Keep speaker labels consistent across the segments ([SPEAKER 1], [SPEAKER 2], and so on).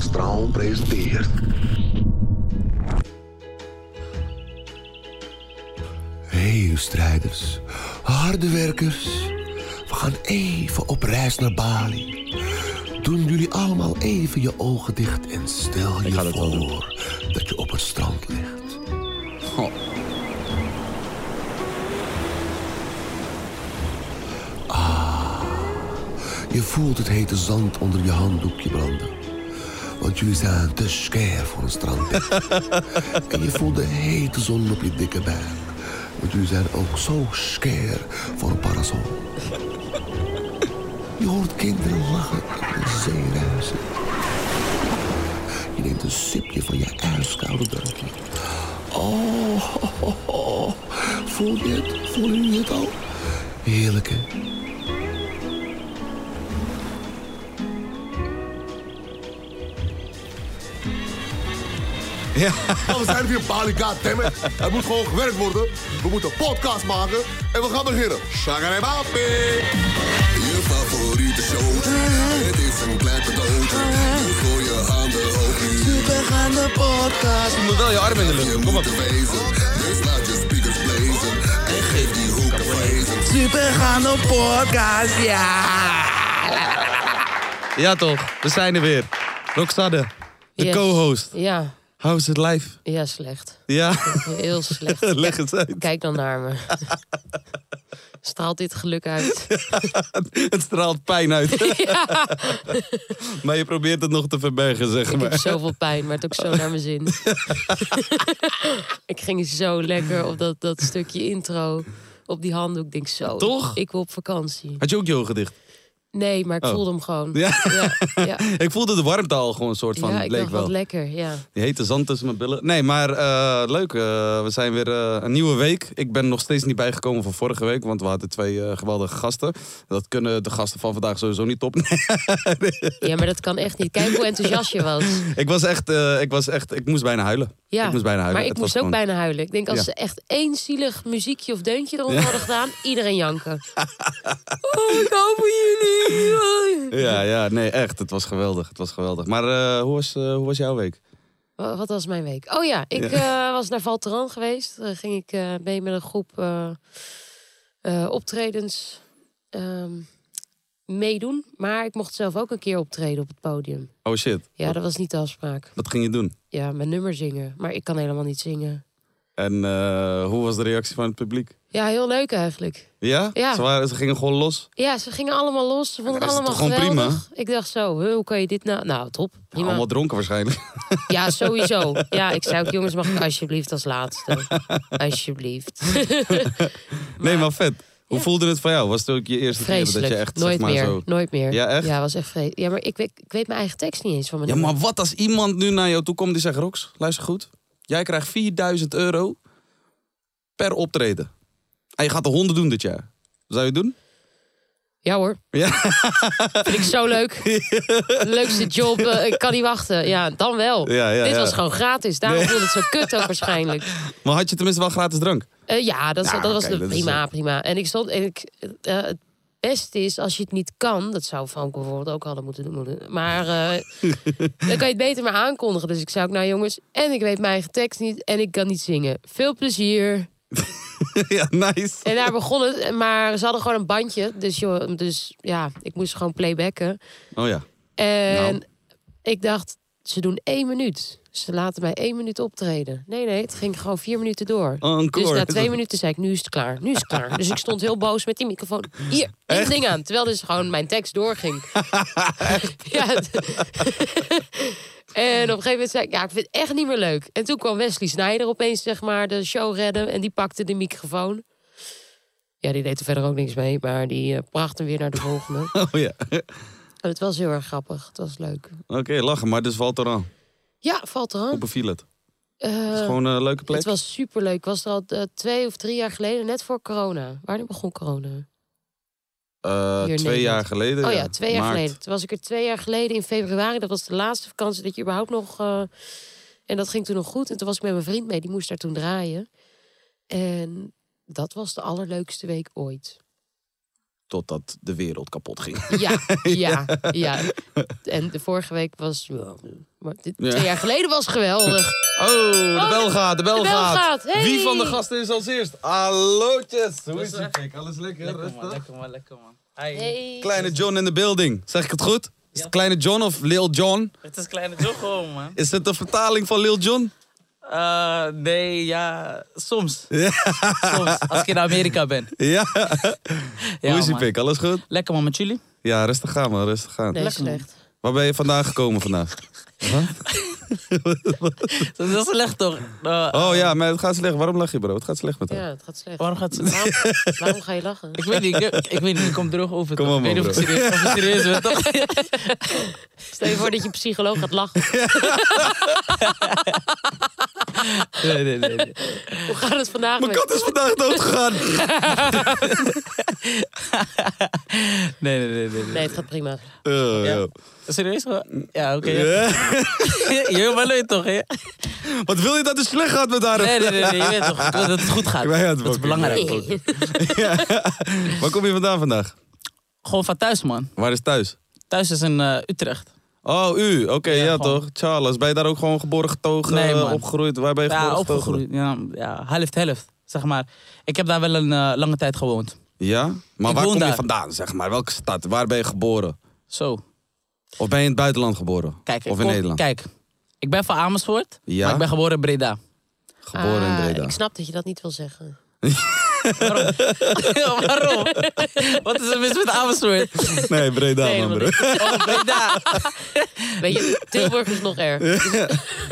[SPEAKER 1] Straal presenteert. Reeuwstrijders, harde werkers. We gaan even op reis naar Bali. Doen jullie allemaal even je ogen dicht en stel
[SPEAKER 2] ga
[SPEAKER 1] je
[SPEAKER 2] dat wel doen.
[SPEAKER 1] voor dat je op het strand ligt. Ah, Je voelt het hete zand onder je handdoekje branden. Want jullie zijn te scher voor een strandbed. en je voelt de hete zon op je dikke buik. Want jullie zijn ook zo scher voor een parasol. Je hoort kinderen lachen en de zee ruisen. Je neemt een sipje van je ijskoude drankje. Oh, ho, ho, ho. voel je het? Voelen jullie het al? Heerlijk, hè?
[SPEAKER 2] Ja.
[SPEAKER 1] Oh, we zijn hier op Bali, goddammit. Het moet gewoon gewerkt worden. We moeten een podcast maken en we gaan beginnen. Shagarabapi.
[SPEAKER 3] Je favoriete show. Het is een klein cadeautje. Doe voor je handen hoog nu.
[SPEAKER 2] Je moet wel je armen in de lucht.
[SPEAKER 3] Je
[SPEAKER 2] doen. Kom op.
[SPEAKER 3] moet er wezen. Dus laat je speakers blazen. En geef die hoek een vrezen.
[SPEAKER 2] Ja toch, we zijn er weer. Roxanne, de
[SPEAKER 4] Yes.
[SPEAKER 2] co-host.
[SPEAKER 4] Ja,
[SPEAKER 2] How is it life?
[SPEAKER 4] ja, slecht.
[SPEAKER 2] Ja,
[SPEAKER 4] Heel slecht.
[SPEAKER 2] leg het uit.
[SPEAKER 4] Kijk dan naar me. Straalt dit geluk uit?
[SPEAKER 2] het straalt pijn uit. maar je probeert het nog te verbergen, zeg
[SPEAKER 4] Ik heb
[SPEAKER 2] maar.
[SPEAKER 4] zoveel pijn, maar het ook zo naar mijn zin. ik ging zo lekker op dat, dat stukje intro. Op die handdoek Ik denk zo.
[SPEAKER 2] Toch?
[SPEAKER 4] Ik wil op vakantie.
[SPEAKER 2] Had je ook je ogen dicht?
[SPEAKER 4] Nee, maar ik voelde hem gewoon.
[SPEAKER 2] Ja.
[SPEAKER 4] ja, ja.
[SPEAKER 2] Ik voelde de warmte al gewoon een soort van,
[SPEAKER 4] Ja, ik
[SPEAKER 2] leek
[SPEAKER 4] dacht
[SPEAKER 2] wel.
[SPEAKER 4] wat lekker. Ja.
[SPEAKER 2] Die hete zand tussen mijn billen. Nee, maar eh, leuk. eh, we zijn weer eh, een nieuwe week. Ik ben nog steeds niet bijgekomen van vorige week, want we hadden twee eh, geweldige gasten. Dat kunnen de gasten van vandaag sowieso niet op.
[SPEAKER 4] ja, maar dat kan echt niet. Kijk hoe enthousiast je was.
[SPEAKER 2] ik, was echt, eh, ik was echt, ik moest bijna huilen.
[SPEAKER 4] Ja,
[SPEAKER 2] ik moest bijna huilen.
[SPEAKER 4] maar ik
[SPEAKER 2] Het
[SPEAKER 4] moest ook
[SPEAKER 2] was gewoon-
[SPEAKER 4] bijna huilen. Ik denk als
[SPEAKER 2] Ja.
[SPEAKER 4] ze echt één zielig muziekje of deuntje eronder hadden gedaan, iedereen janken. oh, ik hou van jullie.
[SPEAKER 2] Ja, ja, nee, echt. Het was geweldig. Het was geweldig. Maar eh, hoe, was, eh, hoe was jouw week?
[SPEAKER 4] Wa- Wat was mijn week? Oh ja, ik eh, was naar Valteran geweest. Daar ging ik eh, mee met een groep eh, eh, optredens ehm, meedoen. Maar ik mocht zelf ook een keer optreden op het podium.
[SPEAKER 2] Oh shit,
[SPEAKER 4] Ja, dat was niet de afspraak.
[SPEAKER 2] wat ging je doen?
[SPEAKER 4] Ja, mijn nummer zingen. Maar ik kan helemaal niet zingen.
[SPEAKER 2] En eh, hoe was de reactie van het publiek?
[SPEAKER 4] Ja, heel leuk eigenlijk.
[SPEAKER 2] Ja?
[SPEAKER 4] Ja.
[SPEAKER 2] Ze, waren, ze gingen gewoon los.
[SPEAKER 4] Ja, ze gingen allemaal los. Ze vonden
[SPEAKER 2] Ja,
[SPEAKER 4] het
[SPEAKER 2] dat is
[SPEAKER 4] allemaal
[SPEAKER 2] toch gewoon
[SPEAKER 4] geweldig. Ik dacht zo, huh, hoe kan je dit nou... Nou, top. Prima.
[SPEAKER 2] Allemaal dronken waarschijnlijk.
[SPEAKER 4] Ja, sowieso. Ja, ik zei ook, jongens, mag ik alsjeblieft als laatste. Alsjeblieft.
[SPEAKER 2] Nee, maar vet. Hoe voelde het van jou? Was het ook je eerste keer dat
[SPEAKER 4] Vreselijk.
[SPEAKER 2] je echt
[SPEAKER 4] Nooit
[SPEAKER 2] zeg maar
[SPEAKER 4] meer.
[SPEAKER 2] zo...
[SPEAKER 4] Nooit meer.
[SPEAKER 2] Ja, echt?
[SPEAKER 4] Ja, was echt vreselijk. Ja, maar ik weet, ik weet mijn eigen tekst niet eens van mijn
[SPEAKER 2] Ja,
[SPEAKER 4] nummer.
[SPEAKER 2] maar wat als iemand nu naar jou toe komt die zegt... Rox, luister goed. Jij krijgt 4000 euro per optreden. En je gaat er honden doen dit jaar. Zou je het doen?
[SPEAKER 4] Ja hoor.
[SPEAKER 2] Ja.
[SPEAKER 4] Vind ik zo leuk. Leukste job. eh, ik kan niet wachten. Ja, dan wel.
[SPEAKER 2] Ja, ja,
[SPEAKER 4] Dit
[SPEAKER 2] ja.
[SPEAKER 4] was gewoon gratis. Daarom voelde het zo kut ook waarschijnlijk.
[SPEAKER 2] Maar had je tenminste wel gratis drank?
[SPEAKER 4] Eh, ja, dat, is-
[SPEAKER 2] Ja,
[SPEAKER 4] dat was
[SPEAKER 2] Nou, oké,
[SPEAKER 4] de,
[SPEAKER 2] dat is
[SPEAKER 4] prima,
[SPEAKER 2] het.
[SPEAKER 4] prima. En ik stond. En ik, eh, het beste is als je het niet kan. Dat zou Frank bijvoorbeeld ook hadden moeten doen. Maar eh, dan kan je het beter maar aankondigen. Dus ik zou ook, nou jongens. En ik weet mijn eigen tekst niet. En ik kan niet zingen. Veel plezier.
[SPEAKER 2] ja, nice.
[SPEAKER 4] En daar begon het. Maar ze hadden gewoon een bandje. Dus, joh, dus ja, ik moest gewoon playbacken.
[SPEAKER 2] Oh ja.
[SPEAKER 4] En
[SPEAKER 2] Nou.
[SPEAKER 4] ik dacht, ze doen één minuut. Ze laten mij één minuut optreden. Nee, nee, het ging gewoon vier minuten door.
[SPEAKER 2] Encore.
[SPEAKER 4] Dus na twee minuten zei ik, nu is het klaar, nu is het klaar. Dus ik stond heel boos met die microfoon. Hier, neem het ding aan. Terwijl dus gewoon mijn tekst doorging. ja. het- en op een gegeven moment zei ik, ja, ik vind het echt niet meer leuk. En toen kwam Wesley Snijder opeens, zeg maar, de show redden. En die pakte de microfoon. Ja, die deed er verder ook niks mee. Maar die eh, bracht hem weer naar de volgende.
[SPEAKER 2] Oh ja. Oké,
[SPEAKER 4] En Oh, het was heel erg grappig. Het was leuk.
[SPEAKER 2] lachen. Maar dus valt er aan.
[SPEAKER 4] Ja, valt er
[SPEAKER 2] Hoe
[SPEAKER 4] aan.
[SPEAKER 2] beviel het?
[SPEAKER 4] Eh,
[SPEAKER 2] Het is gewoon een leuke plek.
[SPEAKER 4] het was superleuk. Ik was er al eh, twee of drie jaar geleden, net voor corona. Wanneer begon corona?
[SPEAKER 2] Eh,
[SPEAKER 4] hier in
[SPEAKER 2] twee jaar
[SPEAKER 4] Nederland.
[SPEAKER 2] geleden.
[SPEAKER 4] Oh ja, twee jaar
[SPEAKER 2] Maart.
[SPEAKER 4] geleden. Toen was ik er twee jaar geleden in februari. Dat was de laatste vakantie dat je überhaupt nog... eh, en dat ging toen nog goed. En toen was ik met mijn vriend mee. Die moest daar toen draaien. En dat was de allerleukste week ooit.
[SPEAKER 2] Totdat de wereld kapot ging.
[SPEAKER 4] Ja, ja, ja. En de vorige week was... Maar dit,
[SPEAKER 2] Ja.
[SPEAKER 4] Twee jaar geleden was geweldig.
[SPEAKER 2] Oh, de
[SPEAKER 4] Oh,
[SPEAKER 2] bel gaat, de bel
[SPEAKER 4] de bel
[SPEAKER 2] gaat.
[SPEAKER 4] gaat, hey.
[SPEAKER 2] Wie van de gasten is als eerst? Hallootjes, hoe is je pik? Alles lekker,
[SPEAKER 5] Lekker man,
[SPEAKER 2] rustig?
[SPEAKER 5] lekker man, lekker man. Hi.
[SPEAKER 4] Hey.
[SPEAKER 2] Kleine John in de building, zeg ik het goed? Is
[SPEAKER 5] Ja.
[SPEAKER 2] het Kleine John of Lil John?
[SPEAKER 5] Het is kleine toch gewoon man.
[SPEAKER 2] Is het de vertaling van Lil John?
[SPEAKER 5] Eh, nee, ja, soms. Soms, als ik in Amerika ben.
[SPEAKER 2] Ja,
[SPEAKER 5] Ja,
[SPEAKER 2] hoe is je
[SPEAKER 5] man.
[SPEAKER 2] pik? Alles goed?
[SPEAKER 5] Lekker man, met jullie?
[SPEAKER 2] Ja, rustig gaan man, rustig aan.
[SPEAKER 4] Nee,
[SPEAKER 5] Lekker, man.
[SPEAKER 4] slecht.
[SPEAKER 2] Waar ben je vandaan gekomen vandaag?
[SPEAKER 5] Dat is slecht toch? Eh,
[SPEAKER 2] Oh ja, maar het gaat slecht. Waarom lach je bro? Het gaat slecht met hem.
[SPEAKER 4] Ja, het gaat slecht.
[SPEAKER 5] Waarom gaat ze... Nou,
[SPEAKER 4] Waarom, waarom ga je lachen?
[SPEAKER 5] Ik weet niet, ik, ik weet niet, ik kom droog over.
[SPEAKER 2] Kom
[SPEAKER 5] toch?
[SPEAKER 2] op,
[SPEAKER 5] ik weet niet of ik
[SPEAKER 2] man,
[SPEAKER 5] serieus, of ik serieus ben, toch?
[SPEAKER 4] Stel je voor dat je psycholoog gaat lachen.
[SPEAKER 5] Nee, nee, nee. nee.
[SPEAKER 4] Hoe gaat het vandaag
[SPEAKER 2] Mijn
[SPEAKER 4] met
[SPEAKER 2] kat is vandaag doodgegaan.
[SPEAKER 5] Nee, nee, nee. nee, nee.
[SPEAKER 4] Nee, het gaat prima.
[SPEAKER 2] Eh,
[SPEAKER 5] Ja.
[SPEAKER 2] ja.
[SPEAKER 5] Serieus? Ja, oké. ja.
[SPEAKER 2] Eh,
[SPEAKER 5] Je bent leuk toch, hè?
[SPEAKER 2] Wat wil je dat het slecht gaat met haar?
[SPEAKER 5] Nee, nee, nee, nee, je weet toch ik wil dat het goed gaat.
[SPEAKER 2] Ik ben aan het
[SPEAKER 5] dat
[SPEAKER 2] bokken.
[SPEAKER 5] is belangrijk.
[SPEAKER 4] Nee.
[SPEAKER 2] Waar kom je vandaan vandaag?
[SPEAKER 5] Gewoon van thuis, man.
[SPEAKER 2] Waar is thuis?
[SPEAKER 5] Thuis is in eh, Utrecht.
[SPEAKER 2] Oh, u. Oké, ja,
[SPEAKER 5] Ja, gewoon.
[SPEAKER 2] toch. Charles, ben je daar ook gewoon geboren getogen,
[SPEAKER 5] Nee,
[SPEAKER 2] eh,
[SPEAKER 5] man.
[SPEAKER 2] opgegroeid? Waar ben je
[SPEAKER 5] Ja,
[SPEAKER 2] geboren getogen?
[SPEAKER 5] opgegroeid. Ja, ja, helft, helft, zeg maar. Ik heb daar wel een eh, lange tijd gewoond.
[SPEAKER 2] Ja? Maar
[SPEAKER 5] Ik
[SPEAKER 2] waar
[SPEAKER 5] woon
[SPEAKER 2] kom je
[SPEAKER 5] daar.
[SPEAKER 2] vandaan, zeg maar? Welke stad? Waar ben je geboren?
[SPEAKER 5] Zo,
[SPEAKER 2] Of ben je in het buitenland geboren?
[SPEAKER 5] kijk. ik
[SPEAKER 2] of in
[SPEAKER 5] kom-
[SPEAKER 2] Nederland?
[SPEAKER 5] Kijk, ik ben van Amersfoort,
[SPEAKER 2] Ja?
[SPEAKER 5] maar ik ben geboren in Breda.
[SPEAKER 2] Geboren in
[SPEAKER 4] Ah,
[SPEAKER 2] Breda.
[SPEAKER 4] Ik snap dat je dat niet wil zeggen.
[SPEAKER 5] Waarom? Wat is er mis met Amersfoort?
[SPEAKER 2] Nee, Breda,
[SPEAKER 4] Nee,
[SPEAKER 2] man,
[SPEAKER 4] helemaal
[SPEAKER 2] broer.
[SPEAKER 5] Oh, Breda.
[SPEAKER 4] Weet je, Tilburg is nog erg.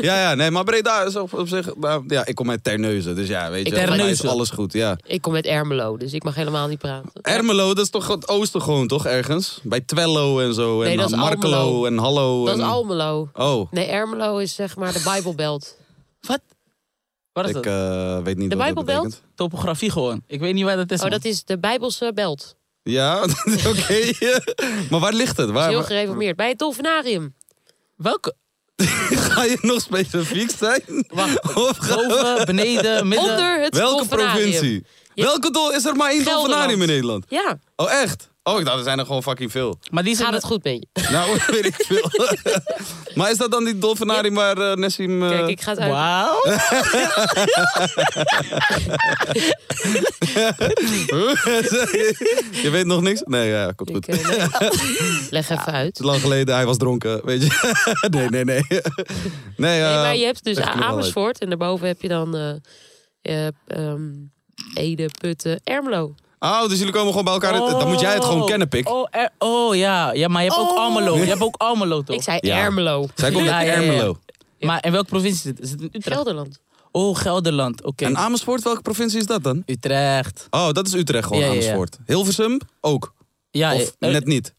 [SPEAKER 2] Ja, ja, nee, maar Breda is op, op zich... nou, ja, ik kom uit Terneuzen, dus ja, weet je.
[SPEAKER 4] Ik
[SPEAKER 2] voor mij is
[SPEAKER 5] Terneuzen.
[SPEAKER 2] alles goed, ja.
[SPEAKER 4] Ik kom uit Ermelo, dus ik mag helemaal niet praten.
[SPEAKER 2] Ermelo, dat is toch het oosten gewoon, toch, ergens? Bij Twello en zo, en
[SPEAKER 4] Nee, dat is
[SPEAKER 2] Markelo
[SPEAKER 4] Almelo.
[SPEAKER 2] en Hallo.
[SPEAKER 4] Dat
[SPEAKER 2] en...
[SPEAKER 4] is Almelo.
[SPEAKER 2] Oh,
[SPEAKER 4] Nee, Ermelo is zeg maar de Bijbelbelt.
[SPEAKER 5] Wat? Wat is
[SPEAKER 2] ik
[SPEAKER 5] dat?
[SPEAKER 2] eh, weet niet
[SPEAKER 4] De
[SPEAKER 2] wat dat
[SPEAKER 4] Bijbelbelt?
[SPEAKER 2] betekent.
[SPEAKER 5] Topografie gewoon. Ik weet niet waar dat is.
[SPEAKER 4] Oh,
[SPEAKER 5] man.
[SPEAKER 4] dat is de Bijbelse belt.
[SPEAKER 2] Ja, oké. maar waar ligt het?
[SPEAKER 4] Dat is
[SPEAKER 2] Waar,
[SPEAKER 4] heel
[SPEAKER 2] waar-
[SPEAKER 4] gereformeerd. Bij het Dolfinarium.
[SPEAKER 5] Welke?
[SPEAKER 2] Ga je nog specifiek zijn?
[SPEAKER 5] Wacht.
[SPEAKER 2] Of ga-
[SPEAKER 5] Boven, beneden, midden.
[SPEAKER 4] Onder het
[SPEAKER 2] eh, welke
[SPEAKER 4] Dolfinarium.
[SPEAKER 2] provincie?
[SPEAKER 4] Ja.
[SPEAKER 2] Welke dol is er maar één
[SPEAKER 4] Gelderland.
[SPEAKER 2] dolfinarium in Nederland?
[SPEAKER 4] Ja,
[SPEAKER 2] Oh, echt? Oh, ik dacht, er zijn er gewoon fucking veel.
[SPEAKER 5] Maar die zijn
[SPEAKER 4] gaat het goed met je?
[SPEAKER 2] Nou, weet ik veel. maar is dat dan die dolfinarium waar eh, Nessim... eh,
[SPEAKER 4] Kijk, ik ga het uit.
[SPEAKER 5] Wauw.
[SPEAKER 2] je weet nog niks? Nee, ja, komt goed.
[SPEAKER 4] Ik, eh, leg- leg even uit.
[SPEAKER 2] Het is lang geleden, hij was dronken, weet je. nee, nee, nee. nee,
[SPEAKER 4] Nee,
[SPEAKER 2] eh,
[SPEAKER 4] maar je hebt dus
[SPEAKER 2] leg het me wel
[SPEAKER 4] Amersfoort en daarboven heb je dan eh eh, ehm, Ede, Putten, Ermelo.
[SPEAKER 2] Oh, dus jullie komen gewoon bij elkaar.
[SPEAKER 4] Oh.
[SPEAKER 2] Dan moet jij het gewoon kennen, pik.
[SPEAKER 5] Oh, er- oh ja. ja, maar je hebt ook
[SPEAKER 4] Oh.
[SPEAKER 5] Almelo. Je hebt ook Almelo toch?
[SPEAKER 4] Ik zei
[SPEAKER 2] Ja.
[SPEAKER 4] Ermelo.
[SPEAKER 2] Zij komt
[SPEAKER 5] Ja,
[SPEAKER 2] uit
[SPEAKER 5] ja, ja, ja.
[SPEAKER 2] Ermelo.
[SPEAKER 5] Maar in welke provincie is het? Is het in Utrecht?
[SPEAKER 4] Gelderland.
[SPEAKER 5] Oh, Gelderland. Oké.
[SPEAKER 2] En Amersfoort, welke provincie is dat dan?
[SPEAKER 5] Utrecht.
[SPEAKER 2] Oh, dat is Utrecht gewoon,
[SPEAKER 5] Ja, ja, ja.
[SPEAKER 2] Amersfoort. Hilversum ook.
[SPEAKER 5] Ja,
[SPEAKER 2] Of
[SPEAKER 5] eh,
[SPEAKER 2] net niet.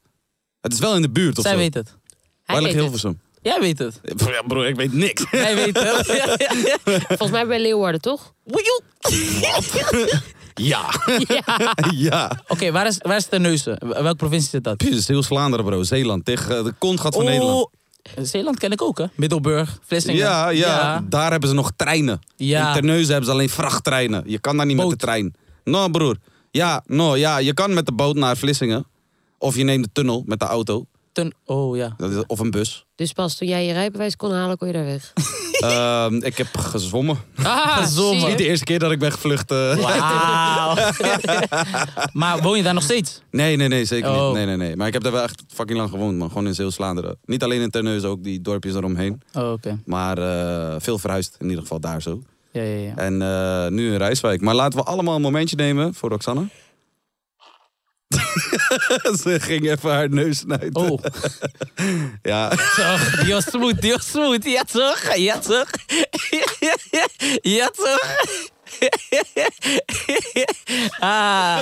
[SPEAKER 2] Het is wel in de buurt of
[SPEAKER 5] zij
[SPEAKER 2] zo.
[SPEAKER 5] weet het.
[SPEAKER 2] Waar
[SPEAKER 4] Hij
[SPEAKER 2] ligt
[SPEAKER 4] weet het.
[SPEAKER 2] Hilversum?
[SPEAKER 5] Jij weet het.
[SPEAKER 2] Ja, broer, ik weet niks.
[SPEAKER 5] Jij weet het. Ja, ja, ja.
[SPEAKER 4] Volgens mij bij Leeuwarden, toch?
[SPEAKER 5] Woejoe.
[SPEAKER 2] ja.
[SPEAKER 4] Ja.
[SPEAKER 2] ja.
[SPEAKER 5] Oké, waar is, waar is Terneuzen? W- Welke provincie zit dat?
[SPEAKER 2] Jezus, heel Vlaanderen, bro. Zeeland. Tegen eh, de kont gaat van
[SPEAKER 5] Oh,
[SPEAKER 2] Nederland.
[SPEAKER 5] eh, Zeeland ken ik ook, hè? Middelburg, Vlissingen.
[SPEAKER 2] Ja, ja,
[SPEAKER 5] ja.
[SPEAKER 2] Daar hebben ze nog treinen.
[SPEAKER 5] Ja.
[SPEAKER 2] In Terneuzen hebben ze alleen vrachttreinen. Je kan daar niet met
[SPEAKER 5] Boot.
[SPEAKER 2] de trein. No, broer. Ja, no, ja. Je kan met de boot naar Vlissingen. Of je neemt de tunnel met de auto.
[SPEAKER 5] Ten, oh ja.
[SPEAKER 2] Dat is- Of een bus.
[SPEAKER 4] Dus pas toen jij je rijbewijs kon halen, kon je daar weg.
[SPEAKER 2] Ehm, ik heb gezwommen.
[SPEAKER 4] Ah, zie
[SPEAKER 5] Gezongen.
[SPEAKER 2] Niet
[SPEAKER 4] je?
[SPEAKER 2] de eerste keer dat ik ben gevlucht. eh.
[SPEAKER 5] Wauw. maar woon je daar nog steeds?
[SPEAKER 2] Nee, nee, nee, zeker
[SPEAKER 5] Oh.
[SPEAKER 2] niet. Nee, nee, nee. Maar ik heb daar wel echt fucking lang gewoond, man. Gewoon in Zeeuws-Vlaanderen. Niet alleen in Terneuzen, ook die dorpjes eromheen.
[SPEAKER 5] Oh, oké.
[SPEAKER 2] Maar eh, veel verhuisd, in ieder geval daar zo.
[SPEAKER 5] Ja, ja, ja.
[SPEAKER 2] En eh, nu in Rijswijk. Maar laten we allemaal een momentje nemen voor Roxanne. Ze ging even haar neus snijden.
[SPEAKER 5] Oh,
[SPEAKER 2] Ja.
[SPEAKER 5] toch. Die was smooth, die was smooth. Ja, toch? Ja, toch? Ja, toch? Ah.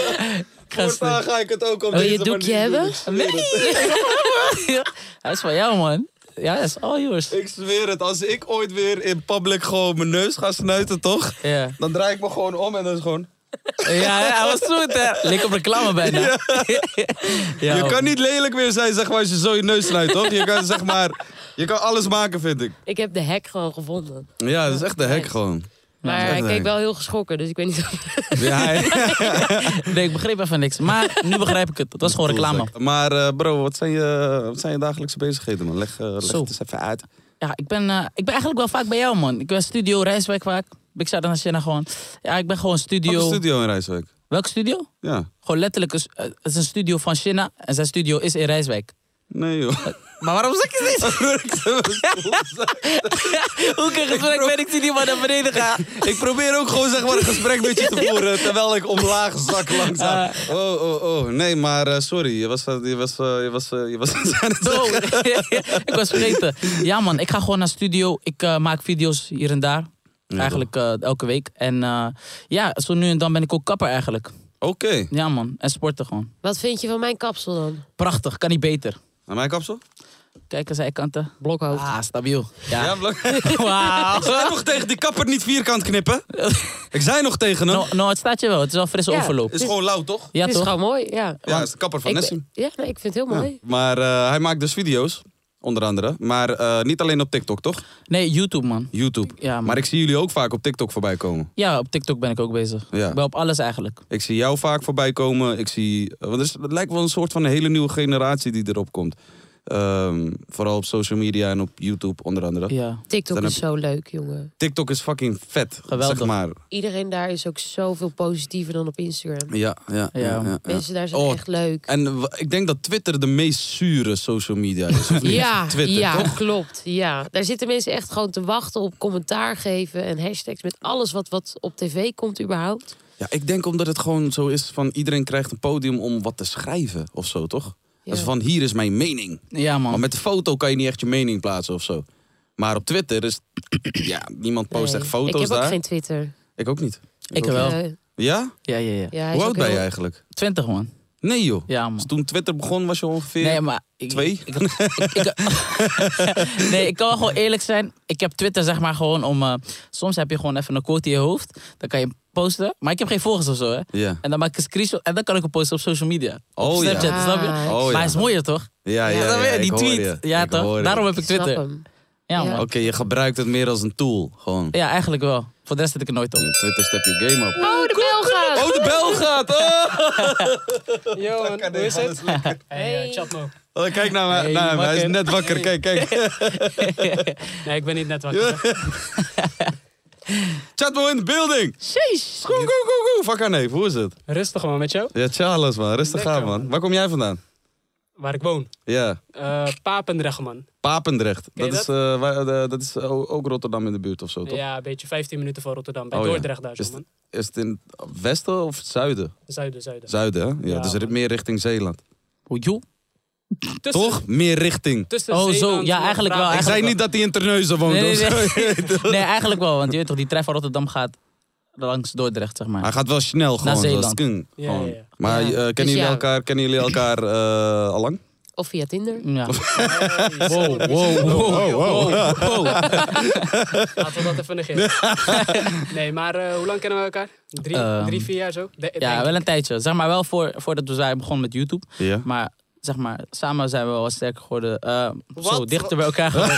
[SPEAKER 5] ik ga
[SPEAKER 2] Voortaan
[SPEAKER 5] stuk.
[SPEAKER 2] ga ik het ook op
[SPEAKER 4] Wil je
[SPEAKER 2] deze
[SPEAKER 4] het doekje
[SPEAKER 2] manier doen.
[SPEAKER 4] hebben?
[SPEAKER 2] Ik
[SPEAKER 5] Nee.
[SPEAKER 2] zweer het.
[SPEAKER 5] Hij is van jou, man. Ja, hij is all yours.
[SPEAKER 2] Ik zweer het. Als ik ooit weer in public gewoon mijn neus ga snuiten, toch?
[SPEAKER 5] Ja,
[SPEAKER 2] Dan draai ik me gewoon om en dan is gewoon...
[SPEAKER 5] ja hij was smooth, hè? Lik op reclame bijna. Ja.
[SPEAKER 2] je
[SPEAKER 5] man.
[SPEAKER 2] kan niet lelijk meer zijn, zeg maar, als je zo je neus snijdt, toch? Je kan, zeg maar, je kan alles maken, vind ik.
[SPEAKER 4] Ik heb de hek gewoon gevonden.
[SPEAKER 2] Ja, dat is echt de hek
[SPEAKER 4] Ja.
[SPEAKER 2] gewoon.
[SPEAKER 4] Maar
[SPEAKER 2] dat is
[SPEAKER 4] ik
[SPEAKER 2] de
[SPEAKER 4] keek
[SPEAKER 2] hek.
[SPEAKER 4] wel heel geschrokken, dus ik weet niet of...
[SPEAKER 2] Ja,
[SPEAKER 5] Nee, ik begreep even niks. Maar nu begrijp ik het. Het was gewoon reclame.
[SPEAKER 2] Maar eh, bro, wat zijn, je, wat zijn je dagelijkse bezigheden, man? Leg, eh, leg
[SPEAKER 5] Zo.
[SPEAKER 2] het eens even uit.
[SPEAKER 5] Ja, ik ben, eh, ik ben eigenlijk wel vaak bij jou, man. Ik ben studio Rijswijk vaak. Ik zou dan als je nou gewoon... Ja, ik ben gewoon
[SPEAKER 2] Op
[SPEAKER 5] studio...
[SPEAKER 2] een studio in Rijswijk.
[SPEAKER 5] Welke studio?
[SPEAKER 2] Ja.
[SPEAKER 5] Gewoon letterlijk, een s- eh, het is een studio van Shinna en zijn studio is in Rijswijk.
[SPEAKER 2] Nee, joh.
[SPEAKER 5] Maar waarom zeg je dit? Hoe ik in gesprek ben, ik zie die man naar beneden gaan.
[SPEAKER 2] ik probeer ook gewoon zeg maar een gesprek met je te voeren. Terwijl ik omlaag zak
[SPEAKER 5] Eh.
[SPEAKER 2] langzaam. Oh, oh, oh. Nee, maar eh, sorry. Je was, je was, eh, je was, eh, je was aan het
[SPEAKER 5] Zo,
[SPEAKER 2] zeggen.
[SPEAKER 5] ik was vergeten. Ja man, ik ga gewoon naar studio. Ik eh, maak video's hier en daar. eigenlijk eh, elke week. En eh, ja, zo nu en dan ben ik ook kapper eigenlijk.
[SPEAKER 2] Oké.
[SPEAKER 5] Ja man, en sporten gewoon.
[SPEAKER 4] Wat vind je van mijn kapsel dan?
[SPEAKER 5] Prachtig, kan niet beter.
[SPEAKER 2] Aan mijn kapsel?
[SPEAKER 5] Kijk eens zijkanten.
[SPEAKER 4] Blokhoofd.
[SPEAKER 5] Ah, stabiel. Ja.
[SPEAKER 2] Ja, blok.
[SPEAKER 5] Wauw.
[SPEAKER 2] Ik zei nog tegen die kapper niet vierkant knippen. Ik zei nog tegen hem.
[SPEAKER 5] Nou, nou, het staat je wel. Het is wel frisse
[SPEAKER 4] Ja.
[SPEAKER 5] overloop.
[SPEAKER 2] Is gewoon lauw, toch?
[SPEAKER 5] Ja
[SPEAKER 4] Het is
[SPEAKER 5] toch?
[SPEAKER 4] gewoon mooi, ja.
[SPEAKER 2] Ja, is de kapper van
[SPEAKER 4] Ik,
[SPEAKER 2] Nessim.
[SPEAKER 4] ja, nee, ik vind het heel mooi.
[SPEAKER 2] Maar eh, hij maakt dus video's, onder andere. Maar eh, niet alleen op TikTok, toch?
[SPEAKER 5] Nee, YouTube man.
[SPEAKER 2] YouTube.
[SPEAKER 5] Ja, man.
[SPEAKER 2] maar ik zie jullie ook vaak op TikTok voorbij komen.
[SPEAKER 5] Ja, op TikTok ben ik ook bezig.
[SPEAKER 2] Ja.
[SPEAKER 5] Ik ben op alles eigenlijk.
[SPEAKER 2] Ik zie jou vaak voorbij komen. Ik zie, eh, want er is- het lijkt wel een soort van een hele nieuwe generatie die erop komt. Ehm, vooral op social media en op YouTube, onder andere.
[SPEAKER 5] Ja.
[SPEAKER 4] TikTok
[SPEAKER 2] Dan
[SPEAKER 4] is
[SPEAKER 2] heb-
[SPEAKER 4] zo leuk, jongen.
[SPEAKER 2] TikTok is fucking vet.
[SPEAKER 5] Geweldig.
[SPEAKER 2] Zeg maar.
[SPEAKER 4] Iedereen daar is ook zoveel positiever dan op Instagram.
[SPEAKER 2] Ja, ja, ja.
[SPEAKER 5] Ja.
[SPEAKER 2] ja, ja.
[SPEAKER 4] Mensen daar zijn
[SPEAKER 2] Oh,
[SPEAKER 4] echt leuk.
[SPEAKER 2] En w- ik denk dat Twitter de meest zure social media is. of niet?
[SPEAKER 4] Ja,
[SPEAKER 2] Twitter,
[SPEAKER 4] ja
[SPEAKER 2] toch?
[SPEAKER 4] klopt. Ja. Daar zitten mensen echt gewoon te wachten op commentaar geven en hashtags met alles wat, wat op tv komt überhaupt.
[SPEAKER 2] Ja, ik denk omdat het gewoon zo is van iedereen krijgt een podium om wat te schrijven of zo, toch?
[SPEAKER 4] Ja.
[SPEAKER 2] Dus van hier is mijn mening.
[SPEAKER 5] Ja man.
[SPEAKER 2] Maar met de foto kan je niet echt je mening plaatsen of zo. Maar op Twitter is. ja, niemand post
[SPEAKER 4] Nee.
[SPEAKER 2] echt foto's
[SPEAKER 4] Ik heb
[SPEAKER 2] daar.
[SPEAKER 4] ook geen Twitter.
[SPEAKER 2] Ik ook niet.
[SPEAKER 5] Ik wel.
[SPEAKER 4] Eh,
[SPEAKER 2] Ja?
[SPEAKER 5] Ja, ja, ja.
[SPEAKER 4] ja,
[SPEAKER 2] Hoe
[SPEAKER 4] hij is ook
[SPEAKER 2] oud ben
[SPEAKER 4] heel-
[SPEAKER 2] je eigenlijk?
[SPEAKER 5] 20 man.
[SPEAKER 2] Nee, joh.
[SPEAKER 5] Ja man.
[SPEAKER 2] Dus toen Twitter begon was je ongeveer.
[SPEAKER 5] Nee, maar ik,
[SPEAKER 2] twee?
[SPEAKER 5] Ik, ik- ik- nee, ik kan wel gewoon eerlijk zijn. Ik heb Twitter zeg maar gewoon om... eh, soms heb je gewoon even een quote in je hoofd. Dan kan je hem posten. Maar ik heb geen volgers of zo, hè.
[SPEAKER 2] Ja.
[SPEAKER 5] En dan maak ik een screenshot en dan kan ik hem posten op social media.
[SPEAKER 2] Oh,
[SPEAKER 5] op
[SPEAKER 2] ja.
[SPEAKER 5] Snapchat, snap je?
[SPEAKER 4] Ah,
[SPEAKER 2] Oh,
[SPEAKER 5] maar
[SPEAKER 2] ja.
[SPEAKER 5] hij is mooier, toch?
[SPEAKER 2] Ja, ja, ja,
[SPEAKER 5] dan weer
[SPEAKER 2] ja,
[SPEAKER 5] die
[SPEAKER 2] ik hoor
[SPEAKER 5] tweet.
[SPEAKER 2] je.
[SPEAKER 5] Ja,
[SPEAKER 2] Ik hoor
[SPEAKER 5] toch?
[SPEAKER 2] je.
[SPEAKER 5] Daarom heb
[SPEAKER 4] ik
[SPEAKER 5] ik
[SPEAKER 4] snap
[SPEAKER 5] Twitter.
[SPEAKER 4] hem.
[SPEAKER 5] Ja,
[SPEAKER 4] Ja.
[SPEAKER 5] man.
[SPEAKER 2] Oké,
[SPEAKER 5] Ja.
[SPEAKER 2] je gebruikt het meer als een tool. Gewoon.
[SPEAKER 5] eigenlijk wel. Voor de rest zit ik er nooit op.
[SPEAKER 2] Twitter step je game op.
[SPEAKER 4] Oh, de bel gaat!
[SPEAKER 2] Oh, de bel gaat! Oh! dus
[SPEAKER 6] Hey, eh, Chatmo.
[SPEAKER 2] Oh, kijk naar, mij-
[SPEAKER 5] Hey,
[SPEAKER 2] naar hem, hij is
[SPEAKER 5] wakker.
[SPEAKER 2] net wakker. Kijk, kijk.
[SPEAKER 6] Nee, ik ben niet net wakker.
[SPEAKER 2] Chatmo in de building. Jeez. Goe, goe, goe, goe. Fuck haar neef, hoe is het?
[SPEAKER 6] Rustig man, met jou?
[SPEAKER 2] Ja, Charles man, rustig
[SPEAKER 6] Lekker,
[SPEAKER 2] aan man.
[SPEAKER 6] man.
[SPEAKER 2] Waar kom jij vandaan?
[SPEAKER 6] Waar ik woon.
[SPEAKER 2] Ja,
[SPEAKER 6] Eh Papendrecht man.
[SPEAKER 2] Papendrecht.
[SPEAKER 6] Ken
[SPEAKER 2] Dat
[SPEAKER 6] je
[SPEAKER 2] is, eh, waar- eh, dat is o- ook Rotterdam in de buurt of zo, toch?
[SPEAKER 6] Ja, een beetje 15 minuten van Rotterdam. Bij
[SPEAKER 2] Oh, ja.
[SPEAKER 6] Dordrecht daar
[SPEAKER 2] Is
[SPEAKER 6] zo
[SPEAKER 2] het-
[SPEAKER 6] man.
[SPEAKER 2] Is het in het westen of het zuiden?
[SPEAKER 6] Zuiden, zuiden.
[SPEAKER 2] Zuiden, hè? Ja,
[SPEAKER 6] Ja,
[SPEAKER 2] dus er is
[SPEAKER 6] man.
[SPEAKER 2] meer richting Zeeland.
[SPEAKER 5] Hoe joh?
[SPEAKER 6] Tussen-
[SPEAKER 2] Toch? Meer richting.
[SPEAKER 6] Tussen
[SPEAKER 5] Oh, zo.
[SPEAKER 6] Zeeland
[SPEAKER 5] Ja,
[SPEAKER 6] en
[SPEAKER 5] eigenlijk wel,
[SPEAKER 6] Brabant.
[SPEAKER 2] Ik zei niet dat hij in Terneuzen woont.
[SPEAKER 5] Nee, nee,
[SPEAKER 2] of zo.
[SPEAKER 5] Nee, eigenlijk wel. Want je weet toch, die trein van Rotterdam gaat langs Dordrecht, zeg
[SPEAKER 2] Hij
[SPEAKER 5] maar.
[SPEAKER 2] gaat wel snel gewoon.
[SPEAKER 5] Zeeland.
[SPEAKER 2] zoals het kan,
[SPEAKER 6] Ja,
[SPEAKER 2] gewoon.
[SPEAKER 6] ja, ja.
[SPEAKER 2] Maar
[SPEAKER 4] Ja.
[SPEAKER 2] eh, kennen,
[SPEAKER 4] Dus
[SPEAKER 2] jullie
[SPEAKER 4] ja.
[SPEAKER 2] elkaar, kennen jullie elkaar eh al lang?
[SPEAKER 4] Of via Tinder.
[SPEAKER 2] Ah.
[SPEAKER 5] Ja. Wow, wow, wow, wow, wow.
[SPEAKER 6] Laten we dat even negeren. nee, maar eh, hoe lang kennen we elkaar? Drie,
[SPEAKER 5] Ehm,
[SPEAKER 6] drie vier jaar zo? De- denk
[SPEAKER 5] Ja,
[SPEAKER 6] ik.
[SPEAKER 5] wel een tijdje. Zeg maar wel voor, voordat we zijn begonnen met YouTube.
[SPEAKER 2] Ja.
[SPEAKER 5] Maar zeg maar, samen zijn we wel wat sterker geworden. Eh, zo, dichter bij elkaar geworden.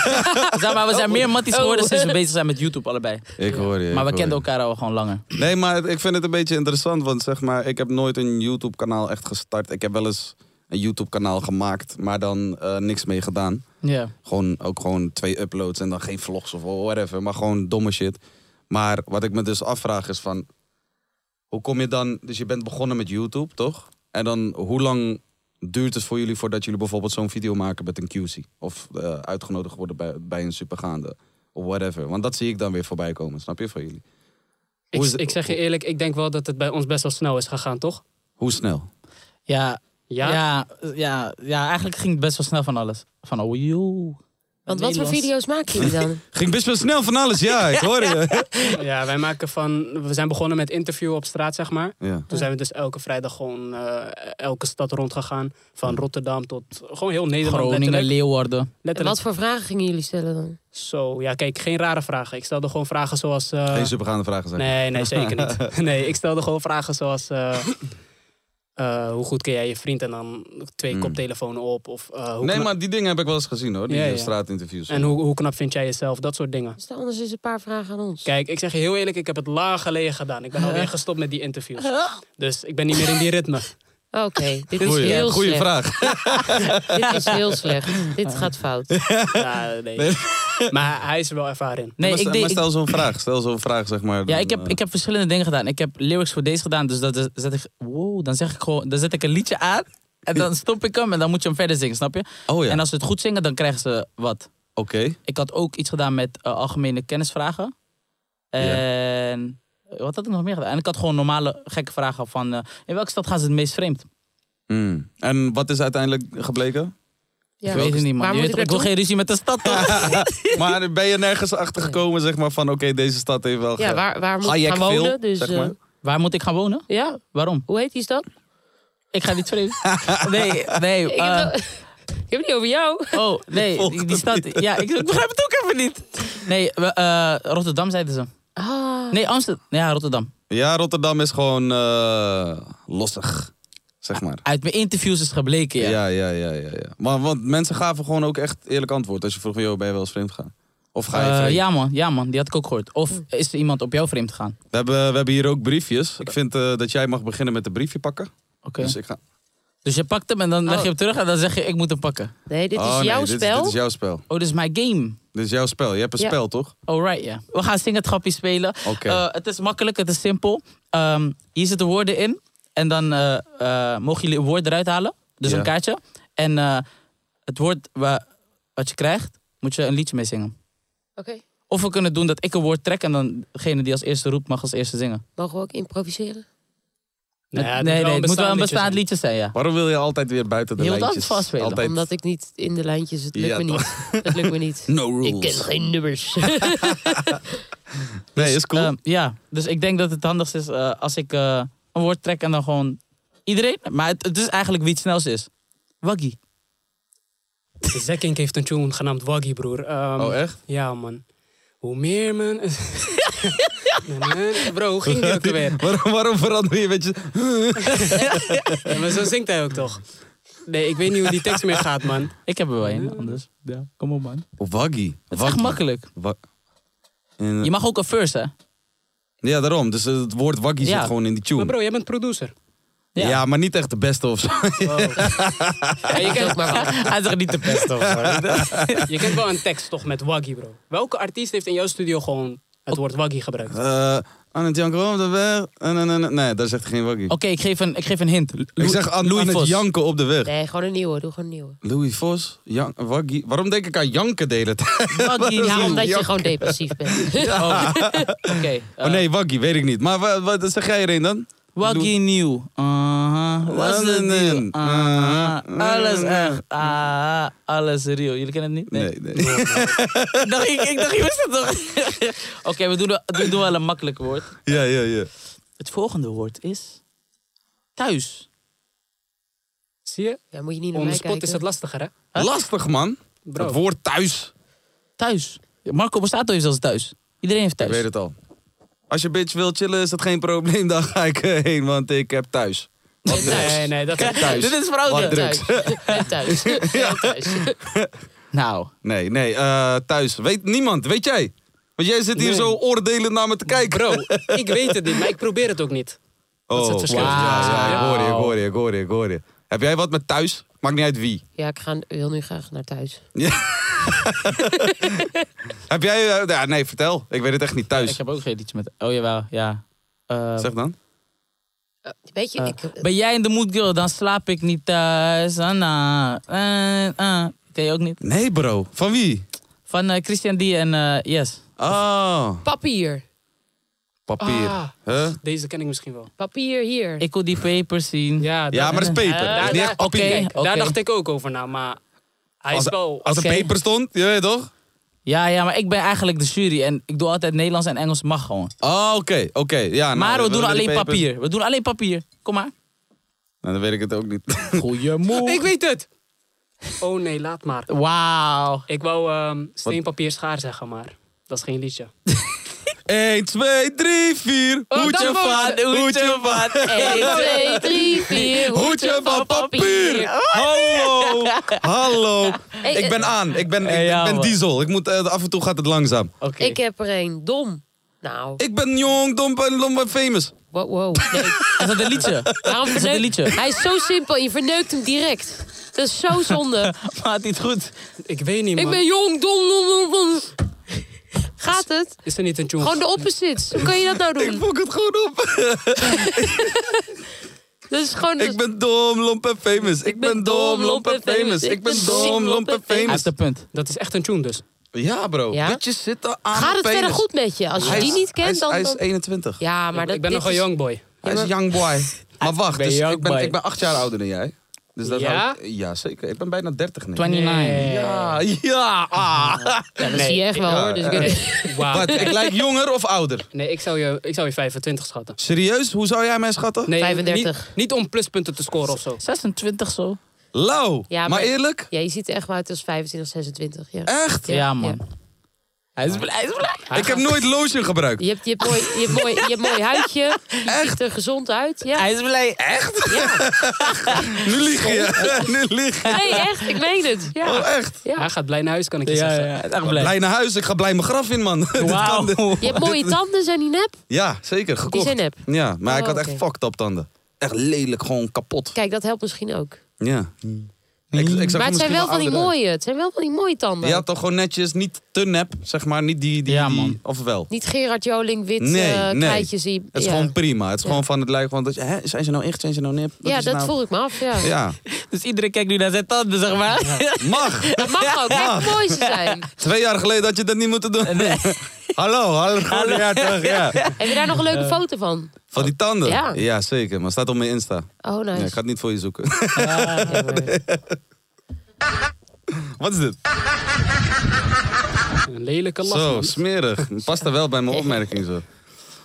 [SPEAKER 5] zeg maar, we zijn meer matties geworden
[SPEAKER 4] Oh.
[SPEAKER 5] sinds we bezig zijn met YouTube allebei.
[SPEAKER 2] Ik hoor je.
[SPEAKER 5] Maar
[SPEAKER 2] ik
[SPEAKER 5] we
[SPEAKER 2] hoor je.
[SPEAKER 5] kenden elkaar al gewoon langer.
[SPEAKER 2] Nee, maar het- ik vind het een beetje interessant, want zeg maar, ik heb nooit een YouTube-kanaal echt gestart. Ik heb wel eens een YouTube-kanaal gemaakt, maar dan eh, niks mee gedaan.
[SPEAKER 5] Ja.
[SPEAKER 2] Gewoon ook gewoon twee uploads en dan geen vlogs of whatever, maar gewoon domme shit. Maar wat ik me dus afvraag is van, hoe kom je dan, dus je bent begonnen met YouTube, toch? En dan, hoe lang duurt het voor jullie voordat jullie bijvoorbeeld zo'n video maken met een QC? Of eh, uitgenodigd worden bij, bij een supergaande, of whatever. Want dat zie ik dan weer voorbij komen, snap je, van jullie?
[SPEAKER 6] ik,
[SPEAKER 2] hoe is het-
[SPEAKER 6] ik zeg je eerlijk, ik denk wel dat het bij ons best wel snel is gegaan, toch?
[SPEAKER 2] Hoe snel?
[SPEAKER 5] Ja,
[SPEAKER 6] Ja.
[SPEAKER 5] ja? Ja, ja, eigenlijk ging het best wel snel van alles. Van oh joh.
[SPEAKER 4] Want wat voor
[SPEAKER 5] Nederlands.
[SPEAKER 4] video's maken jullie dan?
[SPEAKER 2] Ging best wel snel van alles, ja, ik hoor je.
[SPEAKER 6] Ja, wij maken van. We zijn begonnen met interview op straat, zeg maar.
[SPEAKER 2] Ja.
[SPEAKER 6] Toen zijn we dus elke vrijdag gewoon eh, elke stad rondgegaan. Van
[SPEAKER 2] Hmm.
[SPEAKER 6] Rotterdam tot gewoon heel Nederland.
[SPEAKER 5] Groningen,
[SPEAKER 6] letterlijk.
[SPEAKER 5] Leeuwarden.
[SPEAKER 4] En
[SPEAKER 6] letterlijk.
[SPEAKER 4] wat voor vragen gingen jullie stellen dan?
[SPEAKER 6] Zo, ja, kijk, geen rare vragen. Ik stelde gewoon vragen zoals. eh,
[SPEAKER 2] Geen supergaande vragen zijn.
[SPEAKER 6] nee, nee, zeker niet. Nee, ik stelde gewoon vragen zoals. eh, eh, hoe goed ken jij je vriend? En dan twee
[SPEAKER 2] Mm.
[SPEAKER 6] koptelefoons op. Of, eh, hoe
[SPEAKER 2] Nee,
[SPEAKER 6] knap-
[SPEAKER 2] maar die dingen heb ik wel eens gezien hoor, die
[SPEAKER 6] Ja,
[SPEAKER 2] eh,
[SPEAKER 6] ja.
[SPEAKER 2] straatinterviews.
[SPEAKER 6] En hoe, hoe knap vind jij jezelf? Dat soort dingen.
[SPEAKER 4] Dus dan anders is een paar vragen aan ons.
[SPEAKER 6] Kijk, ik zeg je heel eerlijk, ik heb het lang geleden gedaan. Ik ben alweer gestopt met die interviews. Dus ik ben niet meer in die ritme.
[SPEAKER 4] Oké, dit is
[SPEAKER 2] Goeie,
[SPEAKER 4] heel
[SPEAKER 2] goeie
[SPEAKER 4] slecht.
[SPEAKER 2] vraag.
[SPEAKER 4] Dit is heel slecht. Dit gaat fout.
[SPEAKER 6] Ja, nee. Maar hij is er wel ervaren in.
[SPEAKER 5] Nee,
[SPEAKER 2] maar,
[SPEAKER 5] ik
[SPEAKER 2] stel-
[SPEAKER 5] deed.
[SPEAKER 2] maar
[SPEAKER 5] ik-
[SPEAKER 2] stel zo'n vraag. Stel zo'n vraag, zeg maar.
[SPEAKER 5] Ja,
[SPEAKER 2] dan,
[SPEAKER 5] ik heb,
[SPEAKER 2] eh,
[SPEAKER 5] ik heb verschillende dingen gedaan. Ik heb lyrics voor deze gedaan, dus dat is- zet ik. Wow, dan zeg ik gewoon. Dan zet ik een liedje aan. En dan stop ik hem en dan moet je hem verder zingen, snap je?
[SPEAKER 2] Oh ja,
[SPEAKER 5] En
[SPEAKER 2] oké.
[SPEAKER 5] als ze het goed zingen, dan krijgen ze wat. Ik had ook iets gedaan met eh, algemene kennisvragen. En eh, wat had ik nog meer gedaan? En ik had gewoon normale gekke vragen van eh, in welke stad gaan ze het meest vreemd?
[SPEAKER 2] Hmm. En wat is uiteindelijk gebleken?
[SPEAKER 4] Ja.
[SPEAKER 5] ik weet het niet, man.
[SPEAKER 4] Waar
[SPEAKER 5] Je
[SPEAKER 4] moet
[SPEAKER 5] weet
[SPEAKER 4] ik
[SPEAKER 5] toch, ik wil
[SPEAKER 4] naartoe?
[SPEAKER 5] geen ruzie met de stad, toch?
[SPEAKER 2] maar ben je nergens achter gekomen, zeg maar, van oké, deze stad heeft wel.
[SPEAKER 4] Ja,
[SPEAKER 2] ge-
[SPEAKER 4] waar, waar moet ik
[SPEAKER 2] Hayek
[SPEAKER 4] gaan wonen?
[SPEAKER 2] veel,
[SPEAKER 4] dus,
[SPEAKER 2] zeg
[SPEAKER 4] eh,
[SPEAKER 2] maar.
[SPEAKER 5] Waar moet ik gaan wonen?
[SPEAKER 4] ja,
[SPEAKER 5] Waarom?
[SPEAKER 4] hoe heet die stad?
[SPEAKER 5] Ik ga niet vreemd. Nee, nee.
[SPEAKER 4] ik,
[SPEAKER 5] eh,
[SPEAKER 4] heb het, ik heb het niet over jou.
[SPEAKER 5] Oh, nee,
[SPEAKER 2] volg
[SPEAKER 5] die,
[SPEAKER 2] het
[SPEAKER 5] die stad. Ja, ik, ik begrijp het ook even niet. Nee, we, eh, Rotterdam zeiden ze.
[SPEAKER 4] Ah,
[SPEAKER 5] Nee, Amsterdam. Ja, Rotterdam.
[SPEAKER 2] Ja, Rotterdam is gewoon eh, lossig, zeg maar.
[SPEAKER 5] Uit mijn interviews is gebleken, ja.
[SPEAKER 2] Ja, ja, ja, ja. ja. Maar want mensen gaven gewoon ook echt eerlijk antwoord. Als je vroeg, joh, ben je wel eens vreemd gegaan? Of ga je
[SPEAKER 5] Eh,
[SPEAKER 2] vreemd?
[SPEAKER 5] ja, man, ja, man, die had ik ook gehoord. Of is er iemand op jou vreemd gegaan?
[SPEAKER 2] We, hebben, we hebben hier ook briefjes. Ik vind eh, dat jij mag beginnen met een briefje pakken.
[SPEAKER 5] Oké.
[SPEAKER 2] Dus ik ga...
[SPEAKER 5] Dus je pakt hem en dan leg je hem terug en dan zeg je: Ik moet hem pakken.
[SPEAKER 4] nee, dit is
[SPEAKER 2] Oh, nee,
[SPEAKER 4] jouw
[SPEAKER 2] dit
[SPEAKER 4] spel.
[SPEAKER 2] Dit is jouw spel.
[SPEAKER 5] Oh, dit is mijn game.
[SPEAKER 2] Dit is jouw spel. Je hebt een
[SPEAKER 4] Ja.
[SPEAKER 2] spel, toch?
[SPEAKER 5] Alright, ja. Oh, We gaan zingen het grapje spelen.
[SPEAKER 2] Oké.
[SPEAKER 5] Eh, het is makkelijk, het is simpel. Ehm, hier zitten woorden in. En dan eh, eh, mogen jullie een woord eruit halen. Dus
[SPEAKER 2] Ja.
[SPEAKER 5] een kaartje. En eh, het woord wa- wat je krijgt, moet je een liedje mee zingen.
[SPEAKER 4] Oké,
[SPEAKER 5] Of we kunnen doen dat ik een woord trek en dan degene die als eerste roept mag als eerste zingen.
[SPEAKER 4] mogen we ook improviseren?
[SPEAKER 6] Nee, het moet
[SPEAKER 5] nee,
[SPEAKER 6] wel
[SPEAKER 5] nee,
[SPEAKER 6] een
[SPEAKER 5] het moet wel een bestaand
[SPEAKER 6] bestaand
[SPEAKER 5] liedje zijn, ja.
[SPEAKER 2] Waarom wil je altijd weer buiten de
[SPEAKER 5] Je wilt
[SPEAKER 2] lijntjes?
[SPEAKER 5] altijd vastspelen.
[SPEAKER 2] Altijd.
[SPEAKER 4] Omdat ik niet in de lijntjes, het lukt
[SPEAKER 2] Ja,
[SPEAKER 4] me niet. Het lukt me niet.
[SPEAKER 2] No
[SPEAKER 4] Ik
[SPEAKER 2] rules.
[SPEAKER 4] ken geen nummers.
[SPEAKER 2] Nee, is cool.
[SPEAKER 5] Ehm, ja, dus ik denk dat het handigst is eh, als ik eh, een woord trek en dan gewoon iedereen. Maar het, het is eigenlijk wie het snelst is. Waggy.
[SPEAKER 6] liedje. Zekink heeft een tune genaamd Waggy, broer. Ehm,
[SPEAKER 2] oh, echt?
[SPEAKER 6] Ja, man. Hoe meer men... Bro, hoe ging dit ook weer?
[SPEAKER 5] Ehm.
[SPEAKER 2] waarom, waarom verander je? Weet je...
[SPEAKER 6] maar zo zingt hij ook toch? Nee, ik weet niet hoe die tekst meer gaat, man.
[SPEAKER 5] Ik heb er wel een, anders. Ja, kom op man.
[SPEAKER 2] Waggy.
[SPEAKER 5] Het is echt makkelijk. Je mag ook een first, hè?
[SPEAKER 2] Ja, daarom. Dus het woord waggy
[SPEAKER 5] Ja.
[SPEAKER 2] zit gewoon in die tune.
[SPEAKER 6] Maar bro, jij bent producer.
[SPEAKER 5] ja.
[SPEAKER 2] ja. maar niet echt de beste of zo.
[SPEAKER 6] je,
[SPEAKER 4] Dat is ook
[SPEAKER 6] kent,
[SPEAKER 4] maar wat.
[SPEAKER 5] Hij zegt niet de beste of
[SPEAKER 6] je kent wel een tekst toch met Waggy, bro. Welke artiest heeft in jouw studio gewoon het woord Waggy gebruikt?
[SPEAKER 2] Eh, aan het janken op de weg. Eh, nee, nee, nee. Nee, daar zegt hij geen waggy.
[SPEAKER 5] Oké, ik geef een, ik geef een hint. Lu-
[SPEAKER 2] Ik zeg aan,
[SPEAKER 5] Louis
[SPEAKER 2] aan het
[SPEAKER 5] Vos.
[SPEAKER 2] janken op de weg.
[SPEAKER 4] Nee, gewoon een nieuwe. Doe gewoon een nieuwe.
[SPEAKER 2] Louis Vos, Jan, Waggy. Waarom denk ik aan janken de hele tijd?
[SPEAKER 5] Waggy,
[SPEAKER 4] Ja,
[SPEAKER 5] ja,
[SPEAKER 4] omdat je
[SPEAKER 2] jank.
[SPEAKER 4] gewoon depressief bent.
[SPEAKER 5] Oh. Oké. eh,
[SPEAKER 2] oh nee, Waggy, weet ik niet. Maar wa- wat, zeg jij erin dan?
[SPEAKER 5] Waggy nieuw. Uh-huh. Aha, was het nieuw. Aha, Uh-huh. alles echt. Ah, alles real. Jullie kennen het niet?
[SPEAKER 2] Nee, nee.
[SPEAKER 5] ik, dacht, ik, ik dacht, je wist het toch? Oké, we doen, we doen- doen wel een makkelijk woord.
[SPEAKER 2] ja, ja, ja.
[SPEAKER 5] Het volgende woord is... Thuis.
[SPEAKER 6] Zie je?
[SPEAKER 4] Ja, moet je niet naar
[SPEAKER 6] On the
[SPEAKER 4] mij
[SPEAKER 6] spot
[SPEAKER 4] kijken.
[SPEAKER 6] is het lastiger, hè?
[SPEAKER 2] Lastig, man.
[SPEAKER 6] Bro.
[SPEAKER 2] Het woord thuis.
[SPEAKER 5] Thuis. Marco Borsato heeft zelfs thuis. Iedereen heeft thuis.
[SPEAKER 2] Ik weet het al. Als je bitch wil chillen, is dat geen probleem. Dan ga ik eh, heen, want ik heb thuis.
[SPEAKER 6] Nee, nee, dat is
[SPEAKER 2] Thuis.
[SPEAKER 5] Dit is
[SPEAKER 2] Wat
[SPEAKER 5] fraude.
[SPEAKER 2] druk.
[SPEAKER 4] Thuis. En thuis. En thuis.
[SPEAKER 5] Nou,
[SPEAKER 2] Nee, nee, eh, thuis. Weet niemand, weet jij? Want jij zit hier
[SPEAKER 6] Nee.
[SPEAKER 2] zo oordelend naar me te kijken.
[SPEAKER 6] Bro, ik weet het niet, maar ik probeer het ook niet.
[SPEAKER 2] oh,
[SPEAKER 6] is het verschil.
[SPEAKER 2] wauw. Ja, ja, ik
[SPEAKER 5] Wauw.
[SPEAKER 2] hoor je, ik hoor je, ik hoor je, ik hoor je. Heb jij wat met thuis? Maakt niet uit wie.
[SPEAKER 4] Ja, ik ga, wil nu graag naar thuis.
[SPEAKER 2] Heb jij... eh, ja, nee, vertel. Ik weet het echt niet thuis.
[SPEAKER 5] Ik heb ook geen liedje met. Oh jawel, ja. Eh,
[SPEAKER 2] Zeg dan.
[SPEAKER 4] Weet
[SPEAKER 2] Eh.
[SPEAKER 4] je, ik...
[SPEAKER 5] ben jij in de mood, girl? Dan slaap ik niet thuis. Anna. Eh, eh. Ken je ook niet?
[SPEAKER 2] Nee, bro. Van wie?
[SPEAKER 5] Van eh, Christian D en eh, Yes.
[SPEAKER 2] Ah,
[SPEAKER 4] Papier.
[SPEAKER 2] papier.
[SPEAKER 6] Ah.
[SPEAKER 2] Huh?
[SPEAKER 6] Deze ken ik misschien wel.
[SPEAKER 4] Papier hier.
[SPEAKER 5] Ik wil die papers zien.
[SPEAKER 6] Ja,
[SPEAKER 2] Ja, maar dat is paper.
[SPEAKER 6] Daar-
[SPEAKER 2] dat is niet echt
[SPEAKER 6] daar-
[SPEAKER 2] papier.
[SPEAKER 5] Oké.
[SPEAKER 6] Kijk, daar dacht ik ook over na, maar hij
[SPEAKER 2] Als,
[SPEAKER 6] is wel...
[SPEAKER 2] als
[SPEAKER 5] oké.
[SPEAKER 2] er paper stond, je weet toch?
[SPEAKER 5] Ja, ja, maar ik ben eigenlijk de jury en ik doe altijd Nederlands en Engels mag gewoon.
[SPEAKER 2] Oh, oké, oké. Ja, nou,
[SPEAKER 5] maar we
[SPEAKER 2] dan
[SPEAKER 5] doen
[SPEAKER 2] willen die
[SPEAKER 5] alleen
[SPEAKER 2] papers-
[SPEAKER 5] papier. We doen alleen papier. Kom maar.
[SPEAKER 2] Nou, dan weet ik het ook niet.
[SPEAKER 5] Goeiemoe.
[SPEAKER 6] Ik weet het! Oh nee, laat maar.
[SPEAKER 5] Wauw.
[SPEAKER 6] Ik wou ehm steen, papier, schaar zeggen, maar dat is geen liedje.
[SPEAKER 2] 1, 2, 3, 4.
[SPEAKER 5] Oh,
[SPEAKER 2] Hoedje van, Oh, hoedje van.
[SPEAKER 4] 1, 2, 3, 4.
[SPEAKER 2] Hoedje van papier. Hallo. Hallo.
[SPEAKER 4] Hey,
[SPEAKER 2] Ik ben aan. Ik ben,
[SPEAKER 5] Hey,
[SPEAKER 2] ik
[SPEAKER 5] ja,
[SPEAKER 2] ben
[SPEAKER 5] man.
[SPEAKER 2] diesel. Ik moet, eh, af en toe gaat het langzaam.
[SPEAKER 5] Oké.
[SPEAKER 4] Ik heb er een. Dom. Nou,
[SPEAKER 2] Ik ben jong, dom en lomp en famous.
[SPEAKER 4] wow, wow. Nee,
[SPEAKER 5] Is dat een liedje?
[SPEAKER 4] waarom
[SPEAKER 5] Is dat een
[SPEAKER 4] verneukt-
[SPEAKER 5] liedje?
[SPEAKER 4] Hij is zo simpel, je verneukt hem direct. Dat is zo zonde.
[SPEAKER 5] Maat, niet goed.
[SPEAKER 6] Ik weet niet, man.
[SPEAKER 4] Ik ben jong, dom, dom, dom, dom. Gaat het?
[SPEAKER 6] Is er niet een tune?
[SPEAKER 4] Gewoon de opposites. Hoe kan je dat nou
[SPEAKER 2] Ik
[SPEAKER 4] doen?
[SPEAKER 2] fok het gewoon op.
[SPEAKER 4] Dat is gewoon...
[SPEAKER 2] Ik ben dom, lomp en famous. Dus- Ik ben dom, lomp en famous. Ik ben dom, lomp en
[SPEAKER 5] Hij
[SPEAKER 2] famous.
[SPEAKER 5] heeft een punt.
[SPEAKER 6] Dat is echt een tune dus.
[SPEAKER 2] Ja, bro.
[SPEAKER 4] Ja?
[SPEAKER 2] Bitches zitten aan
[SPEAKER 4] Gaat
[SPEAKER 2] mijn
[SPEAKER 4] het verder
[SPEAKER 2] penis.
[SPEAKER 4] goed met je? Als je
[SPEAKER 2] Hij
[SPEAKER 4] die
[SPEAKER 2] is-
[SPEAKER 4] niet
[SPEAKER 2] hij
[SPEAKER 4] kent,
[SPEAKER 2] is-
[SPEAKER 4] dan...
[SPEAKER 2] Hij is
[SPEAKER 4] dan-
[SPEAKER 2] 21.
[SPEAKER 4] Ja, maar dat
[SPEAKER 6] ik ben nog
[SPEAKER 4] dit
[SPEAKER 6] een
[SPEAKER 4] is-
[SPEAKER 6] young boy.
[SPEAKER 2] Hij is een young boy. Maar wacht,
[SPEAKER 6] ben
[SPEAKER 2] dus
[SPEAKER 6] young
[SPEAKER 2] ik, ben,
[SPEAKER 6] boy.
[SPEAKER 2] ik ben acht jaar ouder dan jij. Dus dat
[SPEAKER 6] Ja?
[SPEAKER 2] houdt- ja, zeker. Ik ben bijna 30 nu.
[SPEAKER 5] 29.
[SPEAKER 2] Ja, ja. Ah.
[SPEAKER 4] Ja, dat zie je echt wel, hoor. Dus ik weet niet.
[SPEAKER 6] Wauw.
[SPEAKER 2] Wat, ik lijk jonger of ouder?
[SPEAKER 6] Nee, ik zou, je, ik zou je 25 schatten.
[SPEAKER 2] Serieus? Hoe zou jij mij schatten?
[SPEAKER 6] Nee,
[SPEAKER 4] 35.
[SPEAKER 6] Niet, niet om pluspunten te scoren of zo.
[SPEAKER 5] 26 zo.
[SPEAKER 2] Lauw.
[SPEAKER 4] Ja,
[SPEAKER 2] maar,
[SPEAKER 4] maar-
[SPEAKER 2] eerlijk?
[SPEAKER 4] Ja, je ziet er echt wel uit als 25, 26. Ja.
[SPEAKER 2] Echt?
[SPEAKER 5] Ja, man. Hij is blij, hij is blij.
[SPEAKER 2] Ik heb nooit lotion gebruikt.
[SPEAKER 4] Je hebt, je, hebt mooi, je, hebt mooi, je hebt mooi huidje. Je ziet er gezond uit. Ja.
[SPEAKER 5] Hij is blij.
[SPEAKER 2] Echt? nu lieg je. nu lieg je.
[SPEAKER 4] Nee, echt. Ik meen het. Ja.
[SPEAKER 2] Oh, echt?
[SPEAKER 4] Ja.
[SPEAKER 6] Hij gaat blij naar huis, kan ik je
[SPEAKER 5] Ja, ja,
[SPEAKER 6] zeggen.
[SPEAKER 5] hij is echt blij.
[SPEAKER 2] Blij naar huis. Ik ga blij mijn graf in, man. Dit
[SPEAKER 5] Wauw.
[SPEAKER 2] kan dit.
[SPEAKER 4] Je hebt mooie tanden, zijn die nep?
[SPEAKER 2] Ja, zeker. Gekocht.
[SPEAKER 4] zijn nep.
[SPEAKER 2] Ja, maar ik
[SPEAKER 4] Oh,
[SPEAKER 2] had echt
[SPEAKER 4] oké.
[SPEAKER 2] fucked up tanden. Echt lelijk, gewoon kapot.
[SPEAKER 4] Kijk, dat helpt misschien ook.
[SPEAKER 2] Ja. Ik, ik zag er
[SPEAKER 4] Maar het
[SPEAKER 2] misschien
[SPEAKER 4] zijn wel van die
[SPEAKER 2] ouder uit.
[SPEAKER 4] mooie. Het zijn wel van die mooie tanden.
[SPEAKER 2] Ja, toch gewoon netjes, niet te nep, zeg maar. Niet die, die,
[SPEAKER 5] Ja,
[SPEAKER 2] die-
[SPEAKER 5] man.
[SPEAKER 2] of wel.
[SPEAKER 4] Niet Gerard Joling wit eh
[SPEAKER 2] Nee, nee.
[SPEAKER 4] krijtjes. Die,
[SPEAKER 2] Het is
[SPEAKER 4] ja.
[SPEAKER 2] gewoon prima. Het is
[SPEAKER 4] Ja.
[SPEAKER 2] gewoon van het lijkt van, dat je, hè, zijn ze nou echt, zijn ze nou nep?
[SPEAKER 4] ja,
[SPEAKER 2] is
[SPEAKER 4] dat
[SPEAKER 2] nou-
[SPEAKER 4] voel ik me af. Ja.
[SPEAKER 2] Ja,
[SPEAKER 5] Dus iedereen kijkt nu naar zijn tanden, zeg maar.
[SPEAKER 2] mag.
[SPEAKER 4] Dat mag ook. Echt mooi ze zijn.
[SPEAKER 2] Twee jaar geleden had je dat niet moeten doen. hallo, hallo. hallo. Ja, toch, ja.
[SPEAKER 4] Heb je daar nog een leuke foto van?
[SPEAKER 2] Van die tanden.
[SPEAKER 4] Ja.
[SPEAKER 2] zeker. Maar staat op mijn Insta.
[SPEAKER 4] Oh,
[SPEAKER 2] Ja,
[SPEAKER 4] nice.
[SPEAKER 2] ik ga het niet voor je zoeken.
[SPEAKER 4] Ja, maar-
[SPEAKER 2] Wat is dit?
[SPEAKER 6] Een lelijke lach.
[SPEAKER 2] Zo,
[SPEAKER 6] man.
[SPEAKER 2] smerig. Past er wel bij mijn opmerking zo.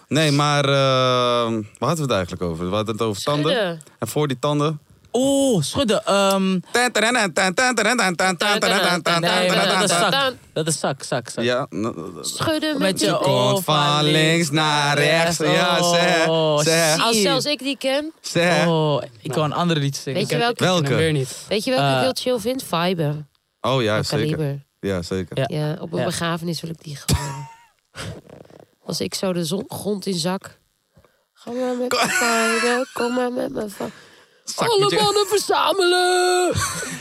[SPEAKER 2] Nee, maar eh, waar hadden we het eigenlijk over? We hadden het over tanden.
[SPEAKER 4] Schudden.
[SPEAKER 2] En voor die tanden.
[SPEAKER 5] Oh, schudden. Ehm, nee, maar dat is zak. Dat is zak, zak, zak.
[SPEAKER 2] Ja, n-
[SPEAKER 4] Schudden met
[SPEAKER 5] Met je
[SPEAKER 4] je
[SPEAKER 2] je
[SPEAKER 5] oog
[SPEAKER 2] komt van links naar rechts. Ja, zeg,
[SPEAKER 5] Oh,
[SPEAKER 2] zeg,
[SPEAKER 5] shit.
[SPEAKER 4] Als zelfs ik die ken.
[SPEAKER 2] zeg.
[SPEAKER 5] Oh, ik kan een andere liedje zingen.
[SPEAKER 4] Weet je
[SPEAKER 6] ken-
[SPEAKER 4] welke,
[SPEAKER 6] En weer
[SPEAKER 2] Welke?
[SPEAKER 6] niet.
[SPEAKER 4] weet je welke ik
[SPEAKER 5] Eh.
[SPEAKER 4] heel chill vind? Fiber.
[SPEAKER 2] Oh ja,
[SPEAKER 4] Van
[SPEAKER 2] zeker.
[SPEAKER 4] Kaliber.
[SPEAKER 2] Ja, zeker.
[SPEAKER 5] Ja.
[SPEAKER 4] Ja, op een
[SPEAKER 5] Ja.
[SPEAKER 4] begrafenis wil ik die gewoon. Als ik zo de zon, grond in zak. Ga maar met me varen, kom maar met me varen.
[SPEAKER 2] Zak met,
[SPEAKER 4] Alle
[SPEAKER 2] je,
[SPEAKER 4] mannen verzamelen!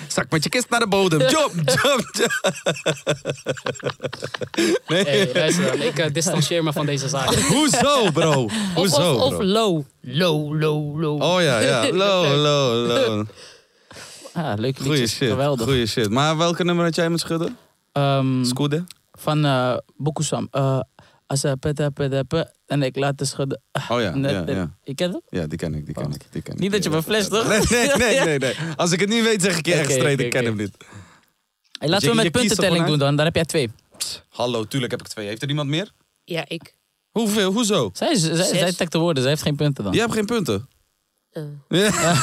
[SPEAKER 2] zak met je kist naar de bodem. Jump, jump, jump.
[SPEAKER 6] Hey, luister, dan, ik eh, distancieer me van deze zaak.
[SPEAKER 2] Hoezo, bro?
[SPEAKER 4] Of,
[SPEAKER 2] Hoezo,
[SPEAKER 4] of, of
[SPEAKER 2] bro?
[SPEAKER 4] low. Low, low, low.
[SPEAKER 2] Oh ja, ja. Low, low, low.
[SPEAKER 5] Ah, leuk
[SPEAKER 2] Goeie
[SPEAKER 5] liedje.
[SPEAKER 2] shit.
[SPEAKER 5] Geweldig.
[SPEAKER 2] Goeie shit. Maar welke nummer had jij met schudden?
[SPEAKER 5] Ehm,
[SPEAKER 2] Scoede?
[SPEAKER 5] van eh Bokusam. Eh, als hij pet, pet, pet, pet, en ik laat het schudden.
[SPEAKER 2] Oh ja,
[SPEAKER 5] Nee,
[SPEAKER 2] ja,
[SPEAKER 5] nee.
[SPEAKER 2] ja.
[SPEAKER 5] Je kent het?
[SPEAKER 2] Ja, die ken ik, die ken ik. Die ken ik.
[SPEAKER 5] Niet dat je
[SPEAKER 2] Ja,
[SPEAKER 5] me flasht, toch?
[SPEAKER 2] Nee, nee, nee, nee, nee. Als ik het niet weet, zeg ik je echt
[SPEAKER 5] Oké,
[SPEAKER 2] straight,
[SPEAKER 5] oké,
[SPEAKER 2] ik ken
[SPEAKER 5] oké.
[SPEAKER 2] hem niet.
[SPEAKER 5] Hey, laten
[SPEAKER 2] Je- je
[SPEAKER 5] we met
[SPEAKER 2] kiest er
[SPEAKER 5] puntentelling
[SPEAKER 2] gewoon
[SPEAKER 5] doen dan. Dan heb jij twee.
[SPEAKER 2] Hallo, tuurlijk heb ik twee. Heeft er iemand meer?
[SPEAKER 4] Ja, ik.
[SPEAKER 2] Hoeveel? Hoezo?
[SPEAKER 5] Zij, zij,
[SPEAKER 4] Zes.
[SPEAKER 5] zij tekte woorden. Zij heeft geen punten dan.
[SPEAKER 2] Jij hebt geen punten.
[SPEAKER 4] Eh.
[SPEAKER 2] Ja.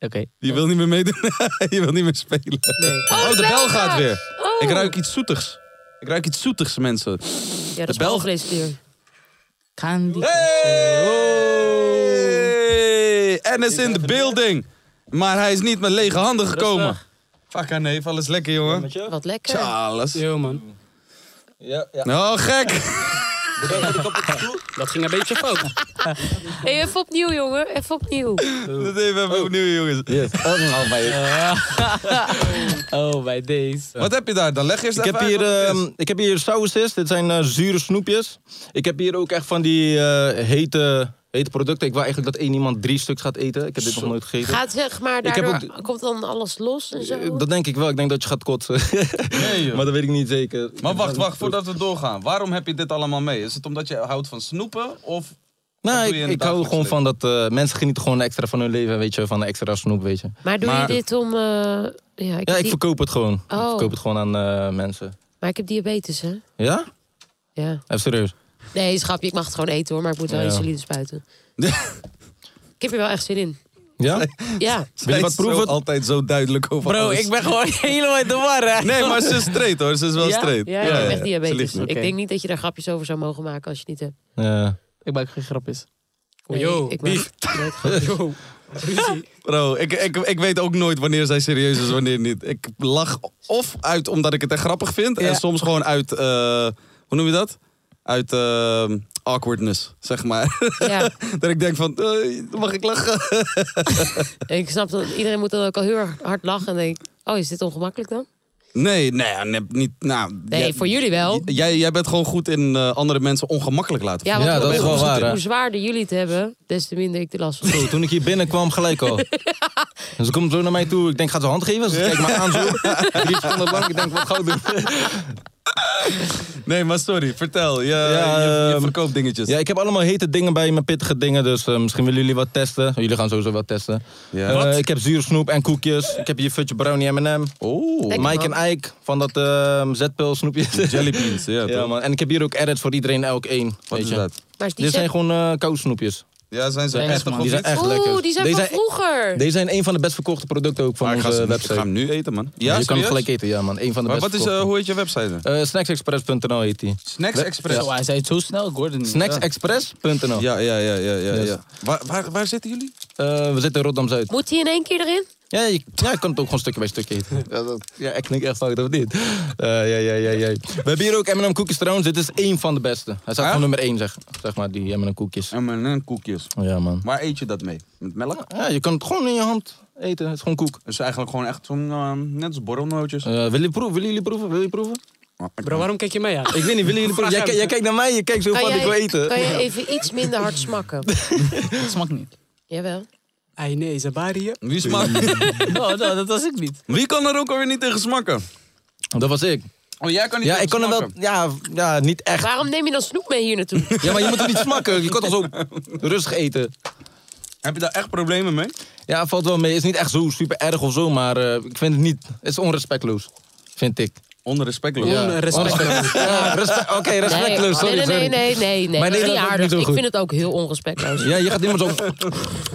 [SPEAKER 5] Oké.
[SPEAKER 2] Je wil niet meer meedoen. je wil niet meer spelen.
[SPEAKER 4] Nee.
[SPEAKER 2] Oh, de bel gaat
[SPEAKER 4] gaat.
[SPEAKER 2] weer.
[SPEAKER 4] Oh.
[SPEAKER 2] Ik ruik iets zoetigs. Ik ruik iets zoetigs, mensen.
[SPEAKER 4] Ja, dat is
[SPEAKER 2] Belg-
[SPEAKER 4] walvleeskleur.
[SPEAKER 5] Kan die...
[SPEAKER 2] Hey! En is in de building. Maar hij is niet met lege handen gekomen. Fuck haar neef, alles lekker, jongen.
[SPEAKER 4] Wat lekker.
[SPEAKER 2] Charles.
[SPEAKER 6] Yo, man.
[SPEAKER 2] Oh, gek.
[SPEAKER 6] Dat ging een beetje fout.
[SPEAKER 4] Hey, even opnieuw, jongen. Even opnieuw.
[SPEAKER 2] Dat even even opnieuw, jongens.
[SPEAKER 5] Oh, bij deze.
[SPEAKER 2] Eh, Wat heb je daar dan? Leg eerst
[SPEAKER 7] Ik
[SPEAKER 2] even
[SPEAKER 7] heb,
[SPEAKER 2] uit
[SPEAKER 7] hier,
[SPEAKER 2] wat het
[SPEAKER 7] ehm,
[SPEAKER 2] is.
[SPEAKER 7] ik heb hier sauces, dit zijn eh, zure snoepjes. Ik heb hier ook echt van die eh, hete, hete producten. Ik wil eigenlijk dat één iemand drie stuks gaat eten. Ik heb dit nog nooit gegeten.
[SPEAKER 4] Gaat zeg maar,
[SPEAKER 7] Ik heb
[SPEAKER 4] daardoor
[SPEAKER 7] ook-
[SPEAKER 4] komt dan alles los en zo.
[SPEAKER 7] Eh, Dat denk ik wel. Ik denk dat je gaat kotsen. maar dat weet ik niet zeker.
[SPEAKER 2] Maar wacht, wacht, voordat we doorgaan. Waarom heb je dit allemaal mee? Is het omdat je houdt van snoepen? Of Wat
[SPEAKER 7] Nou,
[SPEAKER 2] doe je in
[SPEAKER 7] ik,
[SPEAKER 2] het
[SPEAKER 7] ik hou
[SPEAKER 2] dagelijks
[SPEAKER 7] gewoon van dat eh, mensen genieten gewoon extra van hun leven, weet je, van een extra snoep, weet je.
[SPEAKER 4] Maar doe
[SPEAKER 2] Maar-
[SPEAKER 4] je dit om... eh, ja, ik
[SPEAKER 7] Ja,
[SPEAKER 4] heb
[SPEAKER 7] ik
[SPEAKER 4] die-
[SPEAKER 7] verkoop het gewoon. Ik
[SPEAKER 4] Oh.
[SPEAKER 7] verkoop het gewoon aan eh, mensen.
[SPEAKER 4] Maar ik heb diabetes, hè?
[SPEAKER 7] Ja?
[SPEAKER 4] Ja.
[SPEAKER 7] Even serieus.
[SPEAKER 4] Nee, schapje, ik mag het gewoon eten hoor, maar ik moet wel
[SPEAKER 7] Ja.
[SPEAKER 4] insuline spuiten. ik heb er wel echt zin in.
[SPEAKER 7] Ja?
[SPEAKER 4] Ja,
[SPEAKER 7] Wil
[SPEAKER 2] Zij
[SPEAKER 7] je wat
[SPEAKER 2] is
[SPEAKER 7] proeven?
[SPEAKER 2] zo altijd zo duidelijk over
[SPEAKER 5] Bro,
[SPEAKER 2] alles.
[SPEAKER 5] ik ben gewoon helemaal in de war, hè.
[SPEAKER 2] Nee, maar ze is straight hoor. Ze is wel
[SPEAKER 5] Ja?
[SPEAKER 2] straight.
[SPEAKER 4] ja, ik heb echt
[SPEAKER 2] Ze
[SPEAKER 4] diabetes.
[SPEAKER 2] liegt niet.
[SPEAKER 4] Ik denk niet dat je daar grapjes over zou mogen
[SPEAKER 7] Eh,
[SPEAKER 4] maken als je het niet hebt.
[SPEAKER 7] Ja.
[SPEAKER 5] Ik maak geen grapjes.
[SPEAKER 4] Nee,
[SPEAKER 6] Yo,
[SPEAKER 4] ik maak nooit grapjes.
[SPEAKER 6] Yo. Ruzie.
[SPEAKER 2] Bro, ik, ik, ik weet ook nooit wanneer zij serieus is, wanneer niet. Ik lach of uit omdat ik het echt grappig vind.
[SPEAKER 5] Ja.
[SPEAKER 2] En soms gewoon uit, eh, hoe noem je dat? Uit eh, awkwardness, zeg maar.
[SPEAKER 4] Ja,
[SPEAKER 2] dat ik denk van, eh, mag ik lachen?
[SPEAKER 4] ik snap dat iedereen moet dan ook al heel erg hard lachen. En denk, ik, oh, is dit ongemakkelijk dan?
[SPEAKER 2] Nee, nee, nee, niet. Nou,
[SPEAKER 4] Nee,
[SPEAKER 2] jij-
[SPEAKER 4] voor jullie wel.
[SPEAKER 2] Jij, jij bent gewoon goed in eh, andere mensen ongemakkelijk laten
[SPEAKER 4] Ja,
[SPEAKER 2] voelen.
[SPEAKER 4] want
[SPEAKER 7] Ja, dat
[SPEAKER 4] hoe,
[SPEAKER 7] is wel
[SPEAKER 4] hoe-
[SPEAKER 7] waar, hè?
[SPEAKER 4] hoe zwaarder jullie het hebben, des te minder ik de last van. heb.
[SPEAKER 7] Zo, toen ik hier binnenkwam, gelijk al. En ze komt zo naar mij toe. Ik denk, gaat ze hand geven? Ze kijkt me aan zo. Drie seconden lang. Ik denk, wat gauw doen.
[SPEAKER 2] Nee, maar sorry, vertel. Je,
[SPEAKER 7] Ja,
[SPEAKER 2] je, je
[SPEAKER 7] ehm,
[SPEAKER 2] verkoopt dingetjes.
[SPEAKER 7] Ja, ik heb allemaal hete dingen bij me, pittige dingen. Dus eh, misschien willen jullie wat testen. Jullie gaan sowieso wat testen.
[SPEAKER 2] Ja.
[SPEAKER 7] Eh,
[SPEAKER 2] Wat?
[SPEAKER 7] ik heb zure snoep en koekjes. Ik heb hier Fudge Brownie M&M.
[SPEAKER 2] Oeh,
[SPEAKER 4] Lekker,
[SPEAKER 7] Mike en
[SPEAKER 4] man.
[SPEAKER 7] Ike van dat ehm zetpil snoepjes.
[SPEAKER 2] jelly beans. Ja,
[SPEAKER 7] Ja,
[SPEAKER 2] toch?
[SPEAKER 7] man. En ik heb hier ook edits voor iedereen elk één.
[SPEAKER 2] Wat
[SPEAKER 7] weet
[SPEAKER 2] is
[SPEAKER 7] je.
[SPEAKER 2] dat?
[SPEAKER 4] Maar is die
[SPEAKER 7] Dit zijn
[SPEAKER 4] set-
[SPEAKER 7] gewoon eh koude snoepjes.
[SPEAKER 2] Ja, zijn ze
[SPEAKER 5] Thanks,
[SPEAKER 2] echt
[SPEAKER 5] man.
[SPEAKER 2] nog
[SPEAKER 7] Die
[SPEAKER 2] goed?
[SPEAKER 7] zijn echt
[SPEAKER 4] Oeh,
[SPEAKER 7] lekker.
[SPEAKER 4] die zijn
[SPEAKER 7] Deze
[SPEAKER 4] van vroeger.
[SPEAKER 7] Deze zijn een van de best verkochte producten ook van
[SPEAKER 2] Maar ik ga
[SPEAKER 7] onze
[SPEAKER 2] ze niet- ik
[SPEAKER 7] website.
[SPEAKER 2] ga hem nu eten, man.
[SPEAKER 7] je kan
[SPEAKER 2] serieus?
[SPEAKER 7] hem gelijk eten, ja man. Een van de
[SPEAKER 2] Maar wat
[SPEAKER 7] best
[SPEAKER 2] is, eh,
[SPEAKER 7] verkochte.
[SPEAKER 2] hoe heet je website? dan?
[SPEAKER 7] Eh, snacksexpress.nl heet die.
[SPEAKER 2] Snacks Express.
[SPEAKER 5] Zo, hij zei het zo snel, ik hoorde het niet.
[SPEAKER 7] Snacksexpress.nl.
[SPEAKER 2] Ja, ja, ja, ja, ja.
[SPEAKER 7] Oh. Yes.
[SPEAKER 2] ja. Waar, waar, waar zitten jullie?
[SPEAKER 7] Eh, we zitten in Rotterdam-Zuid.
[SPEAKER 4] Moet die in één keer erin?
[SPEAKER 7] Ja, je, ja, je kan het ook gewoon stukje bij stukje eten. Ja, dat, ja ik klink echt fout, dat niet. Eh, ja, ja, ja, ja. We hebben hier ook M&M koekjes trouwens. Dit is één van de beste. Hij staat
[SPEAKER 2] Echt?
[SPEAKER 7] gewoon nummer één, zeg, zeg maar, die M&M koekjes.
[SPEAKER 2] M&M koekjes.
[SPEAKER 7] Ja man.
[SPEAKER 2] Waar eet je dat mee? Met melk?
[SPEAKER 7] Ja, je kan het gewoon in je hand eten. Het is gewoon koek.
[SPEAKER 2] Het is eigenlijk gewoon echt zo'n, eh, net als borrelnootjes.
[SPEAKER 7] Eh, willen jullie proeven? Willen jullie proeven? Willen jullie proeven?
[SPEAKER 6] Bro, waarom kijk je mij aan?
[SPEAKER 7] Ik weet niet, willen jullie proeven? Jij,
[SPEAKER 6] hem.
[SPEAKER 7] jij kijkt naar mij, je kijkt zo van, ik wil eten.
[SPEAKER 4] kan jij even iets minder hard smakken?
[SPEAKER 5] Dat smaakt niet.
[SPEAKER 4] Jawel.
[SPEAKER 6] Ai nee, Zabari hier.
[SPEAKER 2] Wie, smaakt-
[SPEAKER 5] No, no, dat was ik niet.
[SPEAKER 2] Wie kan er ook alweer niet tegen smakken?
[SPEAKER 7] Dat was ik.
[SPEAKER 2] Oh, jij kan niet
[SPEAKER 7] Ja,
[SPEAKER 2] tegen
[SPEAKER 7] ik kan er wel...
[SPEAKER 2] smakken.
[SPEAKER 7] Ja, ja, niet echt.
[SPEAKER 4] Waarom neem je dan snoep mee hier naartoe?
[SPEAKER 7] Ja, maar je moet het niet smakken. Je kan toch zo rustig eten.
[SPEAKER 2] Heb je daar echt problemen mee?
[SPEAKER 7] Ja, valt wel mee. Is niet echt zo super erg of zo, maar eh, ik vind het niet. Het is onrespectloos, vind ik.
[SPEAKER 2] Onrespectloos.
[SPEAKER 7] Onrespectloos. Ja, respe- Oké,
[SPEAKER 4] nee,
[SPEAKER 7] respectloos. Sorry,
[SPEAKER 4] Oh. nee, nee,
[SPEAKER 7] sorry.
[SPEAKER 4] nee, nee, nee.
[SPEAKER 7] Maar
[SPEAKER 4] Dat is
[SPEAKER 7] nee,
[SPEAKER 4] niet
[SPEAKER 7] dat is ook
[SPEAKER 4] aardig.
[SPEAKER 7] niet zo
[SPEAKER 4] Ik
[SPEAKER 7] goed.
[SPEAKER 4] vind het ook heel onrespectloos.
[SPEAKER 7] Ja, je gaat iemand zo.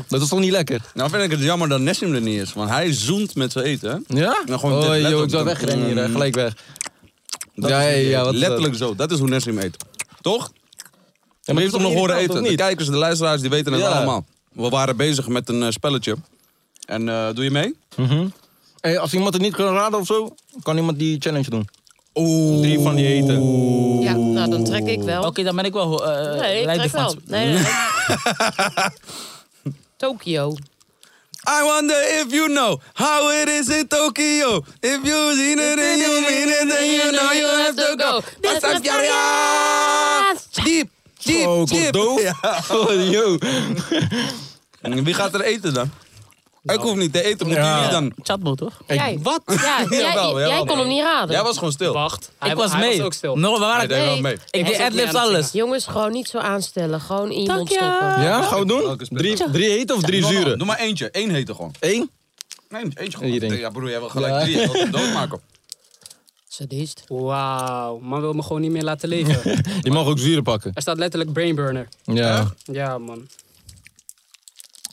[SPEAKER 7] Dat is toch niet lekker?
[SPEAKER 2] Nou vind ik het jammer dat Nessim er niet is, want hij zoent met zijn eten. hè?
[SPEAKER 7] Ja?
[SPEAKER 2] Nou, gewoon dit,
[SPEAKER 7] oh,
[SPEAKER 2] let
[SPEAKER 7] joh,
[SPEAKER 2] op
[SPEAKER 7] ik zou
[SPEAKER 2] dat-
[SPEAKER 7] wegrennen hier, eh,
[SPEAKER 2] Mm.
[SPEAKER 7] gelijk weg.
[SPEAKER 2] Dat is
[SPEAKER 7] ja, ja,
[SPEAKER 2] het idee.
[SPEAKER 7] ja, wat is dat?
[SPEAKER 2] Letterlijk zo. Dat is hoe Nessim eet. Toch?
[SPEAKER 7] Ja,
[SPEAKER 2] maar je hebt hem nog horen eten. De kijkers, de luisteraars, die weten het
[SPEAKER 7] Ja.
[SPEAKER 2] allemaal. We waren bezig met een eh, spelletje. En eh, doe je mee?
[SPEAKER 7] Hey, als iemand het niet kan raden of zo, kan iemand die challenge doen.
[SPEAKER 2] Oeh.
[SPEAKER 7] Drie van die eten.
[SPEAKER 4] Ja, nou, dan trek ik wel.
[SPEAKER 5] Oké, dan ben ik wel eh
[SPEAKER 4] Nee, ik
[SPEAKER 5] leider
[SPEAKER 4] trek wel.
[SPEAKER 5] van...
[SPEAKER 4] Nee, nee, nee. Tokio.
[SPEAKER 2] I wonder if you know how it is in Tokyo. If you seen it and you mean it, then you know you have to go.
[SPEAKER 7] Ah,
[SPEAKER 2] Basakyaria! Diep, diep,
[SPEAKER 7] Oh,
[SPEAKER 2] diep.
[SPEAKER 7] Cordo. Oh, yo.
[SPEAKER 2] Wie gaat er eten dan? Ik hoef niet te eten, moeten
[SPEAKER 7] Ja.
[SPEAKER 2] jullie dan?
[SPEAKER 5] Chatbot, toch?
[SPEAKER 4] Jij. Wat? Ja, jij,
[SPEAKER 2] Jawel, jawel.
[SPEAKER 4] jij kon hem niet raden.
[SPEAKER 2] Jij was gewoon stil.
[SPEAKER 6] Wacht. Hij,
[SPEAKER 5] ik was
[SPEAKER 6] hij
[SPEAKER 5] mee.
[SPEAKER 6] was ook stil.
[SPEAKER 5] No, we waren...
[SPEAKER 2] Hij deed wel
[SPEAKER 4] Nee.
[SPEAKER 2] mee.
[SPEAKER 5] Ik deed
[SPEAKER 6] was ook niet
[SPEAKER 5] adlibs
[SPEAKER 6] aan het
[SPEAKER 5] alles.
[SPEAKER 4] Jongens, gewoon niet zo aanstellen. Gewoon in je mond
[SPEAKER 5] Dank je.
[SPEAKER 4] stoppen.
[SPEAKER 7] Ja, gaan we doen?
[SPEAKER 2] Welke spel?
[SPEAKER 7] Drie, drie hete of drie zure?
[SPEAKER 2] Doe maar eentje. Eén heten gewoon.
[SPEAKER 7] Eén?
[SPEAKER 2] Nee, eentje
[SPEAKER 7] Hier, denk
[SPEAKER 2] gewoon.
[SPEAKER 7] ik.
[SPEAKER 2] Ja, broer, jij wil gelijk
[SPEAKER 7] Ja.
[SPEAKER 2] drie. Je wilt hem doodmaken.
[SPEAKER 4] Sadist.
[SPEAKER 6] Wauw, man wil me gewoon niet meer laten leven.
[SPEAKER 7] Je mag ook zure pakken.
[SPEAKER 6] er staat letterlijk brainburner.
[SPEAKER 7] Ja.
[SPEAKER 6] Ja, man.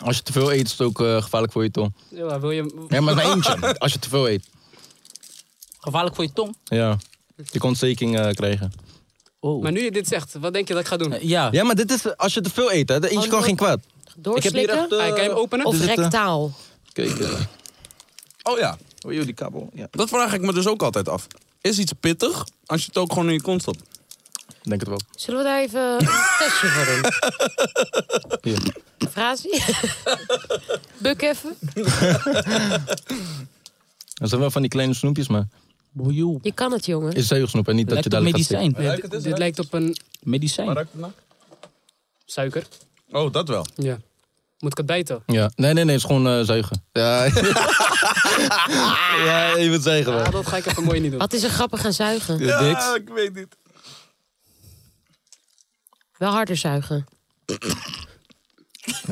[SPEAKER 7] Als je te veel eet, is het ook eh, gevaarlijk voor je tong.
[SPEAKER 6] Ja, wil je...
[SPEAKER 7] Ja, maar maar eentje. Als je te veel eet.
[SPEAKER 5] Gevaarlijk voor je tong.
[SPEAKER 7] Ja. Je kon ontsteking eh, krijgen.
[SPEAKER 5] Oh.
[SPEAKER 6] Maar nu je dit zegt, wat denk je dat ik ga doen?
[SPEAKER 5] Eh, ja.
[SPEAKER 7] Ja, maar dit is als je te veel eet, hè. De eentje
[SPEAKER 4] Oh,
[SPEAKER 7] kan
[SPEAKER 4] no.
[SPEAKER 7] geen kwaad. Ik heb hier
[SPEAKER 4] Doorslikken
[SPEAKER 7] echt... eh,
[SPEAKER 6] Ah, kan je hem openen?
[SPEAKER 4] of
[SPEAKER 7] dit is het, eh,
[SPEAKER 4] rectaal?
[SPEAKER 7] Kijk. eh,
[SPEAKER 2] Oh ja,
[SPEAKER 7] oh joh, die kabel. Ja.
[SPEAKER 2] dat vraag ik me dus ook altijd af. Is iets pittig als je het ook gewoon in je kont stopt?
[SPEAKER 7] Ik Denk het wel.
[SPEAKER 4] Zullen we daar even een testje voor doen?
[SPEAKER 7] Hier.
[SPEAKER 4] Frasie? Buk even.
[SPEAKER 7] Dat zijn wel van die kleine snoepjes, maar...
[SPEAKER 5] Boejoe.
[SPEAKER 4] Je kan het, jongen.
[SPEAKER 7] Is zeugelsnoep en niet dat je
[SPEAKER 5] Lijkt op
[SPEAKER 7] dadelijk gaat
[SPEAKER 5] medicijn.
[SPEAKER 6] Nee, dit- dit lijkt op een
[SPEAKER 5] Medicijn.
[SPEAKER 6] suiker.
[SPEAKER 2] Oh, dat wel.
[SPEAKER 6] Ja. Moet ik het bijten?
[SPEAKER 7] stikken. Ja. Nee, nee, nee. Het is gewoon eh, zuigen. Ja. ja, je moet zuigen, man.
[SPEAKER 6] Ah, dat ga ik even mooi niet doen.
[SPEAKER 4] Wat is er grappig aan zuigen?
[SPEAKER 7] Dit is niks.
[SPEAKER 2] ik weet niet.
[SPEAKER 4] Wel harder zuigen.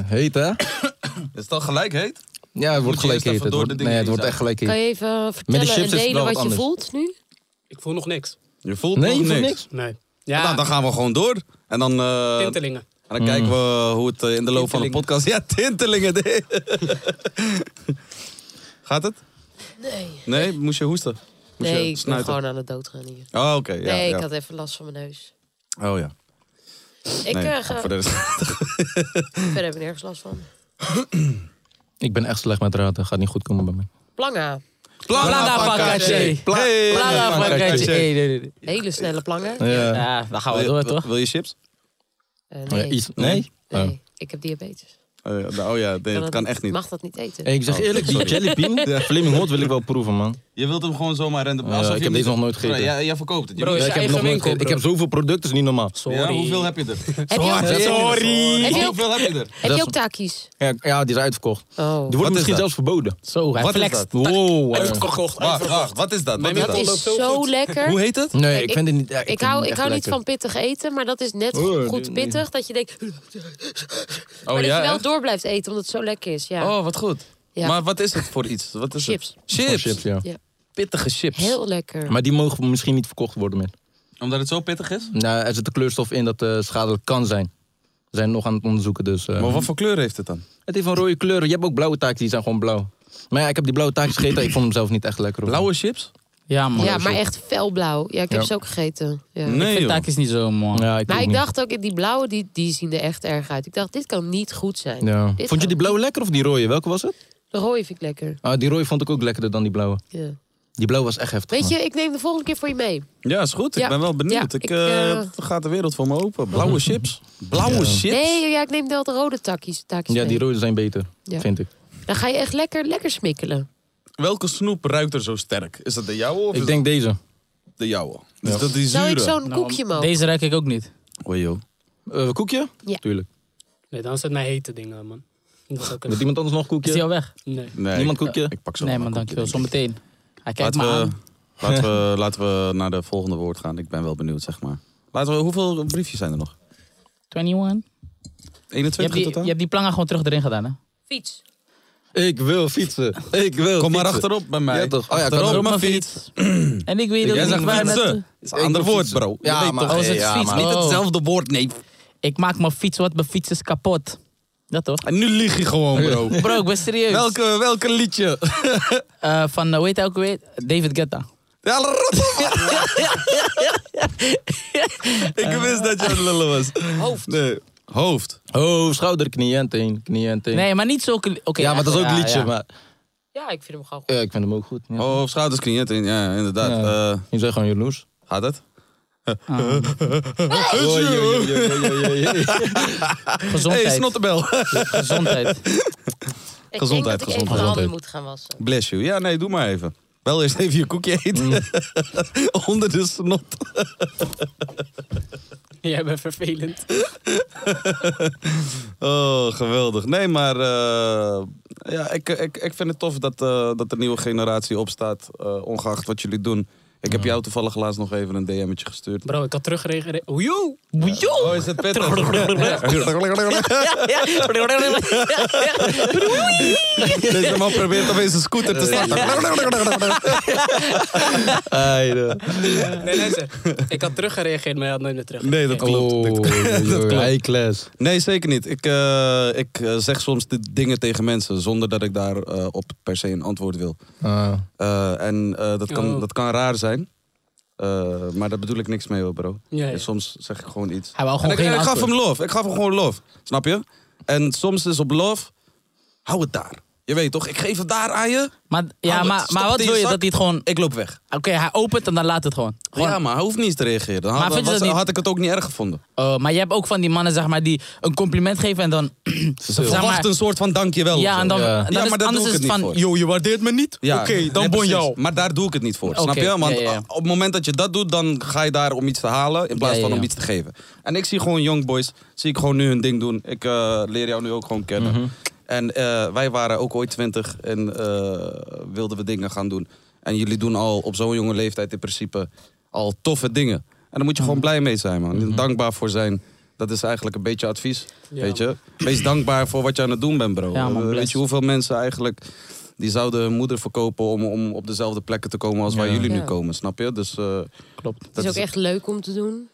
[SPEAKER 7] Heet, hè?
[SPEAKER 2] Is het al gelijk heet?
[SPEAKER 7] Ja, het
[SPEAKER 2] Moet je
[SPEAKER 7] wordt gelijk
[SPEAKER 2] eerst even
[SPEAKER 7] heet. Het
[SPEAKER 2] door de
[SPEAKER 7] wordt,
[SPEAKER 2] dingen
[SPEAKER 7] nee, het
[SPEAKER 2] heen
[SPEAKER 7] wordt echt gelijk
[SPEAKER 4] Kan
[SPEAKER 7] heet.
[SPEAKER 4] je even vertellen
[SPEAKER 7] chips
[SPEAKER 4] en
[SPEAKER 7] is het
[SPEAKER 4] delen
[SPEAKER 7] wel
[SPEAKER 4] wat
[SPEAKER 7] wat
[SPEAKER 4] je
[SPEAKER 7] anders.
[SPEAKER 4] voelt nu?
[SPEAKER 6] Ik voel nog niks.
[SPEAKER 2] Je voelt
[SPEAKER 7] Nee, je
[SPEAKER 2] nog
[SPEAKER 7] voelt
[SPEAKER 2] niks.
[SPEAKER 7] niks.
[SPEAKER 6] Nee.
[SPEAKER 2] Nou, dan
[SPEAKER 6] Ja,
[SPEAKER 2] gaan we gewoon door. En dan, eh, en
[SPEAKER 6] tintelingen.
[SPEAKER 2] dan kijken we hoe het eh, in de loop van de
[SPEAKER 6] Tintelingen.
[SPEAKER 2] podcast... Ja, tintelingen. nee. Gaat het?
[SPEAKER 4] Nee.
[SPEAKER 2] Nee, moest je hoesten? Moest
[SPEAKER 4] Nee,
[SPEAKER 2] je
[SPEAKER 4] ik ben
[SPEAKER 2] snuiten?
[SPEAKER 4] gewoon aan het doodgaan hier.
[SPEAKER 2] Oh, oké. ja,
[SPEAKER 4] Nee,
[SPEAKER 2] ja.
[SPEAKER 4] ik had even last van mijn neus.
[SPEAKER 2] Oh ja.
[SPEAKER 4] Ik
[SPEAKER 2] Nee,
[SPEAKER 4] eh, ga-
[SPEAKER 2] voor de rest-
[SPEAKER 4] verder heb ik nergens last van.
[SPEAKER 7] Ik ben echt slecht met raden. Gaat niet goed komen bij mij.
[SPEAKER 4] Planga.
[SPEAKER 5] Planga
[SPEAKER 2] Hey.
[SPEAKER 5] pakketje.
[SPEAKER 2] Hey.
[SPEAKER 5] Planga pakketje. Hey, nee, nee, nee.
[SPEAKER 4] Hele snelle planga.
[SPEAKER 7] Ja.
[SPEAKER 5] Ja, daar gaan
[SPEAKER 2] Wil
[SPEAKER 5] we door,
[SPEAKER 2] je-
[SPEAKER 5] toch?
[SPEAKER 2] Wil je chips?
[SPEAKER 4] Eh,
[SPEAKER 7] Oh Ja,
[SPEAKER 4] nee.
[SPEAKER 7] iets- nee?
[SPEAKER 4] Nee,
[SPEAKER 7] Oh.
[SPEAKER 4] ik heb diabetes.
[SPEAKER 2] Oh ja, nou, oh ja, nee, dat kan echt niet.
[SPEAKER 4] Mag dat niet eten.
[SPEAKER 7] Hey, ik zeg
[SPEAKER 2] Oh,
[SPEAKER 7] eerlijk, die
[SPEAKER 2] sorry.
[SPEAKER 7] jellybean,
[SPEAKER 2] Ja.
[SPEAKER 7] Flaming Hot wil ik wel proeven, man.
[SPEAKER 2] Je wilt hem gewoon zomaar random...
[SPEAKER 7] Ja,
[SPEAKER 2] alsof
[SPEAKER 7] ik
[SPEAKER 2] je
[SPEAKER 7] heb
[SPEAKER 2] hem-
[SPEAKER 7] deze nog nooit gegeten.
[SPEAKER 2] Nee, Jij, jij verkoopt het. Je
[SPEAKER 5] Bro,
[SPEAKER 2] moet-
[SPEAKER 5] is
[SPEAKER 7] Ja,
[SPEAKER 5] je
[SPEAKER 7] ik, heb
[SPEAKER 5] eigen
[SPEAKER 7] nog nooit
[SPEAKER 5] winkel,
[SPEAKER 7] ge- ik
[SPEAKER 5] bro.
[SPEAKER 7] heb zoveel producten, is niet normaal.
[SPEAKER 5] Sorry.
[SPEAKER 2] Ja, hoeveel heb je er?
[SPEAKER 4] Heb je ook,
[SPEAKER 7] Sorry!
[SPEAKER 4] Heb je ook,
[SPEAKER 2] Hoeveel heb je er?
[SPEAKER 4] heb je
[SPEAKER 7] is-
[SPEAKER 4] ook takis?
[SPEAKER 7] Ja, ja, die is uitverkoxt.
[SPEAKER 4] Oh.
[SPEAKER 7] Die wordt misschien
[SPEAKER 2] dat?
[SPEAKER 7] zelfs verboden.
[SPEAKER 5] Zo, hij
[SPEAKER 2] Wat is
[SPEAKER 5] flext.
[SPEAKER 2] dat?
[SPEAKER 7] Wow. eh.
[SPEAKER 5] Uitverkocht,
[SPEAKER 2] Wacht, wacht, wat is dat? Wat is
[SPEAKER 4] Dat
[SPEAKER 2] dat?
[SPEAKER 4] is zo lekker.
[SPEAKER 2] Hoe heet het?
[SPEAKER 7] Nee, ik
[SPEAKER 4] Ik-
[SPEAKER 7] vind het niet... ja,
[SPEAKER 4] Ik
[SPEAKER 7] vind
[SPEAKER 4] hou,
[SPEAKER 7] het
[SPEAKER 4] ik
[SPEAKER 7] echt
[SPEAKER 4] hou niet van
[SPEAKER 7] lekker.
[SPEAKER 4] pittig eten, maar dat is net
[SPEAKER 7] Oh,
[SPEAKER 4] goed
[SPEAKER 7] nee, nee.
[SPEAKER 4] pittig. Dat je denkt, maar
[SPEAKER 2] Oh
[SPEAKER 4] dat je
[SPEAKER 2] ja,
[SPEAKER 4] wel
[SPEAKER 2] echt?
[SPEAKER 4] door blijft eten, omdat het zo lekker is. Ja.
[SPEAKER 2] Oh, wat goed.
[SPEAKER 4] Ja.
[SPEAKER 2] Maar wat is het voor iets? Wat is
[SPEAKER 4] Chips.
[SPEAKER 2] Het? Chips.
[SPEAKER 7] Oh, chips, ja.
[SPEAKER 2] Pittige chips.
[SPEAKER 4] Heel lekker.
[SPEAKER 7] Maar die mogen misschien niet verkocht worden meer.
[SPEAKER 2] Omdat het zo pittig is?
[SPEAKER 7] Nou, er zit een kleurstof in dat eh, schadelijk kan zijn. We zijn nog aan het onderzoeken, dus... eh,
[SPEAKER 2] Maar wat voor kleur heeft het dan?
[SPEAKER 7] Het heeft een rode kleur. Je hebt ook blauwe taakjes, die zijn gewoon blauw. Maar ja, ik heb die blauwe taakjes gegeten. Ik vond hem zelf niet echt lekker. hoor.
[SPEAKER 2] Blauwe chips?
[SPEAKER 5] Ja, man.
[SPEAKER 4] ja, maar echt felblauw. Ja, ik heb
[SPEAKER 7] Ja.
[SPEAKER 4] ze ook gegeten. Ja.
[SPEAKER 2] Nee, joh.
[SPEAKER 5] Taak is niet zo, man.
[SPEAKER 7] Ja, ik
[SPEAKER 4] Maar
[SPEAKER 7] ook
[SPEAKER 4] ik
[SPEAKER 7] niet.
[SPEAKER 4] dacht ook, die blauwe, die, die zien er echt erg uit. Ik dacht, dit kan niet goed zijn.
[SPEAKER 7] Ja.
[SPEAKER 4] Dit
[SPEAKER 7] Vond je
[SPEAKER 4] kan-
[SPEAKER 7] die blauwe lekker of die rode? Welke was het?
[SPEAKER 4] De rode vind ik lekker.
[SPEAKER 7] Ah, die rode vond ik ook lekkerder dan die blauwe.
[SPEAKER 4] Ja.
[SPEAKER 7] Die blauwe was echt heftig.
[SPEAKER 4] Weet
[SPEAKER 7] man.
[SPEAKER 4] je, ik neem de volgende keer voor je mee.
[SPEAKER 2] Ja, is goed. Ik
[SPEAKER 4] Ja.
[SPEAKER 2] ben wel benieuwd.
[SPEAKER 4] Ja,
[SPEAKER 2] ik,
[SPEAKER 4] ik,
[SPEAKER 2] eh,
[SPEAKER 4] eh,
[SPEAKER 2] het gaat de wereld voor me open. Blauwe chips. Blauwe chips?
[SPEAKER 4] Nee, ja, ik neem wel de rode takjes. takjes
[SPEAKER 7] Ja,
[SPEAKER 4] mee.
[SPEAKER 7] die rode zijn beter,
[SPEAKER 4] Ja.
[SPEAKER 7] vind ik.
[SPEAKER 4] Dan ga je echt lekker, lekker smikkelen.
[SPEAKER 2] Welke snoep ruikt er zo sterk? Is dat de jouwe of is
[SPEAKER 7] Ik denk deze.
[SPEAKER 2] dat de jouwe? Dus dat die
[SPEAKER 4] Zou ik
[SPEAKER 2] zure?
[SPEAKER 4] zo'n
[SPEAKER 5] Nou,
[SPEAKER 4] koekje mogen?
[SPEAKER 5] Deze ruik ik ook niet.
[SPEAKER 2] Oh, joh.
[SPEAKER 7] Eh, koekje?
[SPEAKER 4] Ja.
[SPEAKER 7] Tuurlijk.
[SPEAKER 6] Nee, dan is het mijn hete dingen, man. Dat zou
[SPEAKER 7] Wil
[SPEAKER 6] kunnen.
[SPEAKER 7] iemand anders nog
[SPEAKER 5] Is die
[SPEAKER 7] koekje?
[SPEAKER 5] al weg?
[SPEAKER 6] Nee.
[SPEAKER 2] Nee,
[SPEAKER 7] Niemand
[SPEAKER 2] ik,
[SPEAKER 7] koekje?
[SPEAKER 2] ik pak zo
[SPEAKER 5] Nee,
[SPEAKER 2] wel
[SPEAKER 5] man,
[SPEAKER 2] een koekje,
[SPEAKER 5] dankjewel.
[SPEAKER 2] denk ik.
[SPEAKER 5] Zometeen. Hij kijkt
[SPEAKER 2] Laten
[SPEAKER 5] me
[SPEAKER 2] we,
[SPEAKER 5] aan.
[SPEAKER 2] laten, we, laten we naar de volgende woord gaan. Ik ben wel benieuwd, zeg maar. Laten we, hoeveel briefjes zijn er nog?
[SPEAKER 5] 21. Je hebt,
[SPEAKER 2] 21
[SPEAKER 5] die,
[SPEAKER 2] totaal?
[SPEAKER 5] je hebt die plangen gewoon terug erin gedaan, hè?
[SPEAKER 4] Fiets.
[SPEAKER 7] Ik wil fietsen. Ik wil
[SPEAKER 2] Kom maar
[SPEAKER 7] fietsen.
[SPEAKER 2] achterop bij mij.
[SPEAKER 7] Ja, toch. Oh ja,
[SPEAKER 2] achterop
[SPEAKER 7] kan ook.
[SPEAKER 2] mijn
[SPEAKER 5] Mijn
[SPEAKER 2] fiets.
[SPEAKER 5] en ik weet dat
[SPEAKER 2] Jij
[SPEAKER 5] ik
[SPEAKER 2] zegt
[SPEAKER 5] waar
[SPEAKER 2] fietsen.
[SPEAKER 5] naartoe-
[SPEAKER 2] Dat is een ander
[SPEAKER 7] Ik wil
[SPEAKER 2] woord,
[SPEAKER 7] fietsen.
[SPEAKER 2] bro. Je
[SPEAKER 7] Ja,
[SPEAKER 2] weet
[SPEAKER 7] maar-
[SPEAKER 2] toch?
[SPEAKER 5] Oh, is het
[SPEAKER 2] Ja,
[SPEAKER 5] fiets?
[SPEAKER 2] maar-
[SPEAKER 5] Oh.
[SPEAKER 2] Niet hetzelfde woord, nee.
[SPEAKER 5] Ik maak mijn fiets, wat mijn fiets is kapot. Dat toch?
[SPEAKER 2] En nu lieg je gewoon, bro.
[SPEAKER 5] Bro, ik ben serieus.
[SPEAKER 2] Welke, welke liedje?
[SPEAKER 5] Eh, van, weet je ook weer? David Guetta.
[SPEAKER 2] Ja, rot op. Ik wist dat je aan het lullen was. Hoofd. Nee, hoofd.
[SPEAKER 7] Oh, schouder, knie en teen. Knie en teen.
[SPEAKER 5] Nee, maar niet zulke... li- Oké,
[SPEAKER 7] ja, maar dat is ook een
[SPEAKER 5] ja,
[SPEAKER 7] liedje.
[SPEAKER 5] ja.
[SPEAKER 7] Maar Oh.
[SPEAKER 4] Ja, ik vind hem
[SPEAKER 2] Eh,
[SPEAKER 4] gewoon goed.
[SPEAKER 7] ja, ik vind hem ook goed. Ja.
[SPEAKER 2] Hoofd, Oh, schouders, knieën. teen. Ja, inderdaad.
[SPEAKER 7] Ja.
[SPEAKER 2] Eh,
[SPEAKER 7] Je bent gewoon jaloers.
[SPEAKER 2] gaat het?
[SPEAKER 7] Oh, joh, joh, joh, joh, joh, joh.
[SPEAKER 5] Gezondheid.
[SPEAKER 2] hey, snottebel.
[SPEAKER 5] Gezondheid.
[SPEAKER 4] Ik
[SPEAKER 2] Gezondheid,
[SPEAKER 4] denk dat ik even mijn
[SPEAKER 2] gezondheid.
[SPEAKER 4] handen moet gaan wassen.
[SPEAKER 2] Bless you. Ja, nee, doe maar even. Wel eerst even je koekje eten. Onder de snot.
[SPEAKER 6] Jij bent vervelend.
[SPEAKER 2] Oh, geweldig. Nee, maar eh, ja, ik, ik, ik vind het tof dat, eh, dat de nieuwe generatie opstaat, eh, ongeacht wat jullie doen. Ik heb jou toevallig laatst nog even een DM'tje gestuurd.
[SPEAKER 6] Bro, ik had teruggereageerd. Oejoe!
[SPEAKER 2] Oh, is het pittig? Deze man probeert opeens een scooter te starten.
[SPEAKER 6] Nee, luister. Ik had teruggereageerd, maar hij had nooit meer terug.
[SPEAKER 2] Nee, dat klopt.
[SPEAKER 7] Oh, joh, joh,
[SPEAKER 2] klopt.
[SPEAKER 7] high class.
[SPEAKER 2] Nee, zeker niet. Ik, eh, ik eh, zeg soms de dingen tegen mensen zonder dat ik daarop op per se een antwoord wil.
[SPEAKER 7] Ah.
[SPEAKER 2] Eh, en eh, dat, kan,
[SPEAKER 6] Oh.
[SPEAKER 2] dat kan raar zijn. Eh, maar daar bedoel ik niks mee, hoor, bro.
[SPEAKER 6] Ja, ja.
[SPEAKER 2] En soms zeg ik gewoon iets.
[SPEAKER 5] Hij wou
[SPEAKER 2] En
[SPEAKER 5] gewoon
[SPEAKER 2] ik,
[SPEAKER 5] geen
[SPEAKER 2] en ik gaf
[SPEAKER 5] antwoord.
[SPEAKER 2] hem love. Ik gaf hem gewoon love. Snap je? En soms is op love, hou het daar. Je weet toch, ik geef het daar aan je,
[SPEAKER 5] Maar, ja,
[SPEAKER 2] Hou het,
[SPEAKER 5] maar,
[SPEAKER 2] Oh, stop
[SPEAKER 5] maar
[SPEAKER 2] het
[SPEAKER 5] wat
[SPEAKER 2] in je
[SPEAKER 5] wil je?
[SPEAKER 2] zak.
[SPEAKER 5] Dat hij het gewoon...
[SPEAKER 2] ik loop weg.
[SPEAKER 5] Oké, hij opent en dan laat het gewoon. gewoon
[SPEAKER 2] Ja, maar hij hoeft niet eens te reageren. Dan had,
[SPEAKER 5] vind je
[SPEAKER 2] was-
[SPEAKER 5] dat niet-
[SPEAKER 2] had ik het ook niet erg gevonden.
[SPEAKER 5] Eh, maar je hebt ook van die mannen, zeg maar, die een compliment geven en dan...
[SPEAKER 2] Ze
[SPEAKER 5] maar-
[SPEAKER 2] verwacht een soort van dankjewel. of
[SPEAKER 5] ja,
[SPEAKER 2] zo.
[SPEAKER 5] en dan...
[SPEAKER 7] Ja.
[SPEAKER 5] dan
[SPEAKER 2] Ja,
[SPEAKER 5] is,
[SPEAKER 2] maar daar
[SPEAKER 5] anders
[SPEAKER 2] doe
[SPEAKER 5] is
[SPEAKER 2] ik
[SPEAKER 5] het
[SPEAKER 2] het niet
[SPEAKER 5] van,
[SPEAKER 2] voor.
[SPEAKER 5] yo, je waardeert me niet?
[SPEAKER 2] Ja,
[SPEAKER 5] Oké, dan
[SPEAKER 2] nee,
[SPEAKER 5] bon
[SPEAKER 2] precies.
[SPEAKER 5] jou.
[SPEAKER 2] Maar daar doe ik het niet voor,
[SPEAKER 5] Oké,
[SPEAKER 2] snap je? Want
[SPEAKER 5] ja, ja, ja.
[SPEAKER 2] a- op het moment dat je dat doet, dan ga je daar om iets te halen... in plaats
[SPEAKER 5] Ja, ja,
[SPEAKER 2] van om
[SPEAKER 5] ja.
[SPEAKER 2] iets te geven. En ik zie gewoon young boys, zie ik gewoon nu hun ding doen. Ik eh, leer jou nu ook gewoon kennen.
[SPEAKER 5] Mhm.
[SPEAKER 2] En eh, wij waren ook ooit twintig en eh, wilden we dingen gaan doen. En jullie doen al op zo'n jonge leeftijd in principe al toffe dingen. En daar moet je
[SPEAKER 5] Mhm.
[SPEAKER 2] gewoon blij mee zijn, man. En Dankbaar voor zijn. Dat is eigenlijk een beetje advies,
[SPEAKER 6] Ja,
[SPEAKER 2] weet je. Wees dankbaar voor wat je aan het doen bent, bro.
[SPEAKER 5] Ja, man,
[SPEAKER 2] Eh, weet
[SPEAKER 5] bless.
[SPEAKER 2] je hoeveel mensen eigenlijk die zouden hun moeder verkopen om, om op dezelfde plekken te komen als waar
[SPEAKER 7] Ja.
[SPEAKER 2] jullie nu
[SPEAKER 4] Ja.
[SPEAKER 2] komen, snap je? Dus eh,
[SPEAKER 5] Klopt.
[SPEAKER 4] Het
[SPEAKER 2] dat
[SPEAKER 4] is ook echt leuk om te doen.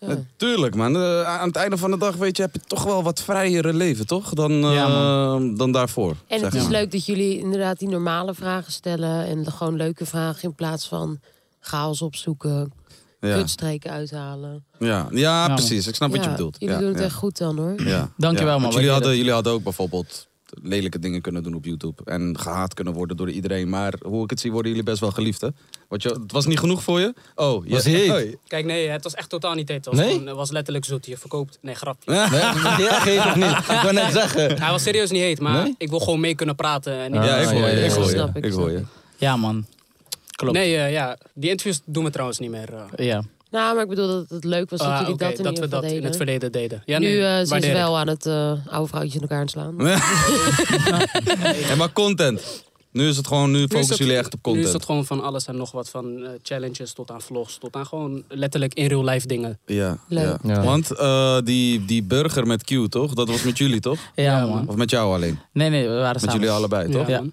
[SPEAKER 4] Ja.
[SPEAKER 2] Natuurlijk, man. Eh, aan het einde van de dag weet je, heb je toch wel wat vrijere leven, toch? Dan,
[SPEAKER 5] Ja,
[SPEAKER 2] eh, dan daarvoor.
[SPEAKER 4] En
[SPEAKER 2] zeg
[SPEAKER 4] het is
[SPEAKER 2] maar.
[SPEAKER 4] leuk dat jullie inderdaad die normale vragen stellen. En de gewoon leuke vragen in plaats van chaos opzoeken,
[SPEAKER 2] Ja,
[SPEAKER 4] kutstreken uithalen.
[SPEAKER 2] ja. ja
[SPEAKER 5] man.
[SPEAKER 2] precies. Ik snap wat je bedoelt.
[SPEAKER 4] Jullie
[SPEAKER 2] ja,
[SPEAKER 4] doen het
[SPEAKER 2] ja.
[SPEAKER 4] echt goed dan hoor.
[SPEAKER 2] Ja. Ja.
[SPEAKER 5] Dankjewel, man.
[SPEAKER 2] Want
[SPEAKER 5] Waardeer
[SPEAKER 2] Jullie
[SPEAKER 5] het.
[SPEAKER 2] hadden, jullie hadden ook bijvoorbeeld eh, lelijke dingen kunnen doen op YouTube. En gehaat kunnen worden door iedereen. Maar hoe ik het zie, worden jullie best wel geliefd, hè? Want je, het was niet genoeg voor je? Oh, je
[SPEAKER 7] Was heet.
[SPEAKER 2] Hoi.
[SPEAKER 6] Kijk, nee, het was echt totaal niet heet. Het was,
[SPEAKER 7] Nee?
[SPEAKER 6] gewoon- het was letterlijk zoet. Je verkoopt. Nee, grapje.
[SPEAKER 7] Nee, was die echt heet of niet? Ik wou net zeggen.
[SPEAKER 6] Hij was serieus niet heet, maar
[SPEAKER 7] Nee?
[SPEAKER 6] ik wil gewoon mee kunnen praten. En niet-
[SPEAKER 2] Ja, ik
[SPEAKER 7] Ah,
[SPEAKER 2] hoor
[SPEAKER 7] ja,
[SPEAKER 2] je.
[SPEAKER 7] ja,
[SPEAKER 2] Ik
[SPEAKER 7] ja.
[SPEAKER 2] hoor
[SPEAKER 4] Snap
[SPEAKER 2] je.
[SPEAKER 4] ik,
[SPEAKER 2] Ik hoor je.
[SPEAKER 5] Ja, man. Klopt.
[SPEAKER 6] Nee, eh, ja, die interviews doen we trouwens niet meer. eh.
[SPEAKER 5] Ja.
[SPEAKER 4] Nou, maar ik bedoel dat het leuk was dat
[SPEAKER 6] Ah,
[SPEAKER 4] jullie
[SPEAKER 6] oké,
[SPEAKER 4] dat in
[SPEAKER 6] dat we
[SPEAKER 4] ieder
[SPEAKER 6] dat
[SPEAKER 4] geval
[SPEAKER 6] in
[SPEAKER 4] deden.
[SPEAKER 6] het verleden deden. Ja,
[SPEAKER 4] nu
[SPEAKER 6] nee,
[SPEAKER 4] eh, zijn ze
[SPEAKER 6] waardeer ik.
[SPEAKER 4] wel aan het eh, oude vrouwtje in elkaar aan slaan.
[SPEAKER 2] En maar content. Nu is het gewoon, nu
[SPEAKER 6] Nu is
[SPEAKER 2] focussen
[SPEAKER 6] dat-
[SPEAKER 2] jullie echt op
[SPEAKER 6] Nu is het
[SPEAKER 2] content.
[SPEAKER 6] gewoon van alles en nog wat. Van eh, challenges tot aan vlogs. Tot aan gewoon letterlijk in real life dingen.
[SPEAKER 2] Ja,
[SPEAKER 4] Leuk.
[SPEAKER 2] ja.
[SPEAKER 7] Ja.
[SPEAKER 2] Want eh, die, die burger met Q, toch? Dat was met jullie, toch?
[SPEAKER 5] Ja, man.
[SPEAKER 2] Of met jou alleen?
[SPEAKER 5] Nee, nee, we waren
[SPEAKER 2] Met jullie allebei, toch?
[SPEAKER 5] Ja.
[SPEAKER 6] man.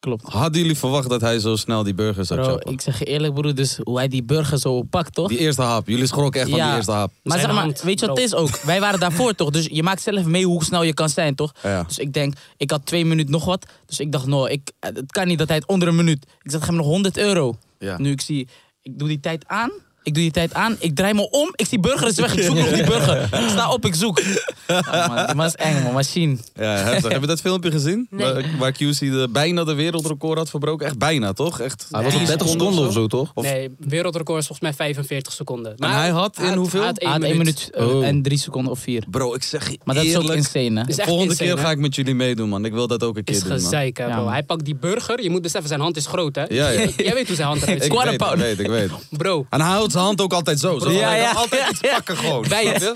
[SPEAKER 5] Klopt.
[SPEAKER 2] Hadden jullie verwacht dat hij zo snel die burger zou
[SPEAKER 5] Bro,
[SPEAKER 2] chappen?
[SPEAKER 5] ik zeg je eerlijk, broer, dus hoe hij die burger zo pakt, toch?
[SPEAKER 2] Die eerste hap. Jullie schrokken echt van die eerste hap.
[SPEAKER 5] Maar
[SPEAKER 6] Zijn
[SPEAKER 5] zeg maar,
[SPEAKER 6] hand,
[SPEAKER 5] weet je wat
[SPEAKER 6] bro.
[SPEAKER 5] het is ook? Wij waren daarvoor toch? Dus je maakt zelf mee hoe snel je kan zijn, toch?
[SPEAKER 2] Ja.
[SPEAKER 5] Dus ik denk, ik had twee minuten nog wat. Dus ik dacht, no, ik, het kan niet dat hij het onder een minuut. Ik zat hem nog 100 euro.
[SPEAKER 2] Ja.
[SPEAKER 5] Nu ik zie, ik doe die tijd aan. Ik doe die tijd aan. Ik draai me om. Ik zie burger is weg. Ik zoek nog die burger. Ik sta op, ik zoek. Ja, man, die man is eng, man. Machine.
[SPEAKER 2] Ja, heftig. Heb je dat filmpje gezien?
[SPEAKER 4] Nee.
[SPEAKER 2] Waar, waar QC de, bijna de wereldrecord had verbroken. Echt bijna, toch? Echt.
[SPEAKER 7] Hij was op 30 seconden of zo, toch?
[SPEAKER 2] Of-
[SPEAKER 6] Nee, wereldrecord is volgens mij 45 seconden.
[SPEAKER 2] En hij had in hoeveel?
[SPEAKER 6] Hij had
[SPEAKER 5] Hij had
[SPEAKER 6] 1
[SPEAKER 5] één
[SPEAKER 6] minuut.
[SPEAKER 5] minuut eh,
[SPEAKER 2] Oh.
[SPEAKER 5] en drie seconden of vier.
[SPEAKER 2] Bro, ik zeg je
[SPEAKER 5] Maar dat is ook
[SPEAKER 2] eerlijk,
[SPEAKER 5] insane, hè?
[SPEAKER 6] Is echt
[SPEAKER 2] Volgende
[SPEAKER 6] insane,
[SPEAKER 2] keer
[SPEAKER 6] hè?
[SPEAKER 2] ga ik met jullie meedoen, man. Ik wil dat ook een keer
[SPEAKER 6] Is
[SPEAKER 2] doen, man.
[SPEAKER 6] gezeik, hè,
[SPEAKER 5] Ja,
[SPEAKER 6] bro.
[SPEAKER 5] man.
[SPEAKER 6] Hij pakt die burger. Je moet beseffen, zijn hand is groot, hè?
[SPEAKER 2] Ja, ja.
[SPEAKER 6] Jij weet hoe zijn hand eruit
[SPEAKER 2] Ik
[SPEAKER 6] ziet.
[SPEAKER 2] weet, ik weet, ik weet.
[SPEAKER 6] Bro,
[SPEAKER 2] En hij houdt zijn hand ook altijd zo. Zo
[SPEAKER 5] Ja,
[SPEAKER 2] ja,
[SPEAKER 5] ja.
[SPEAKER 2] Altijd iets pakken gewoon.
[SPEAKER 6] Bij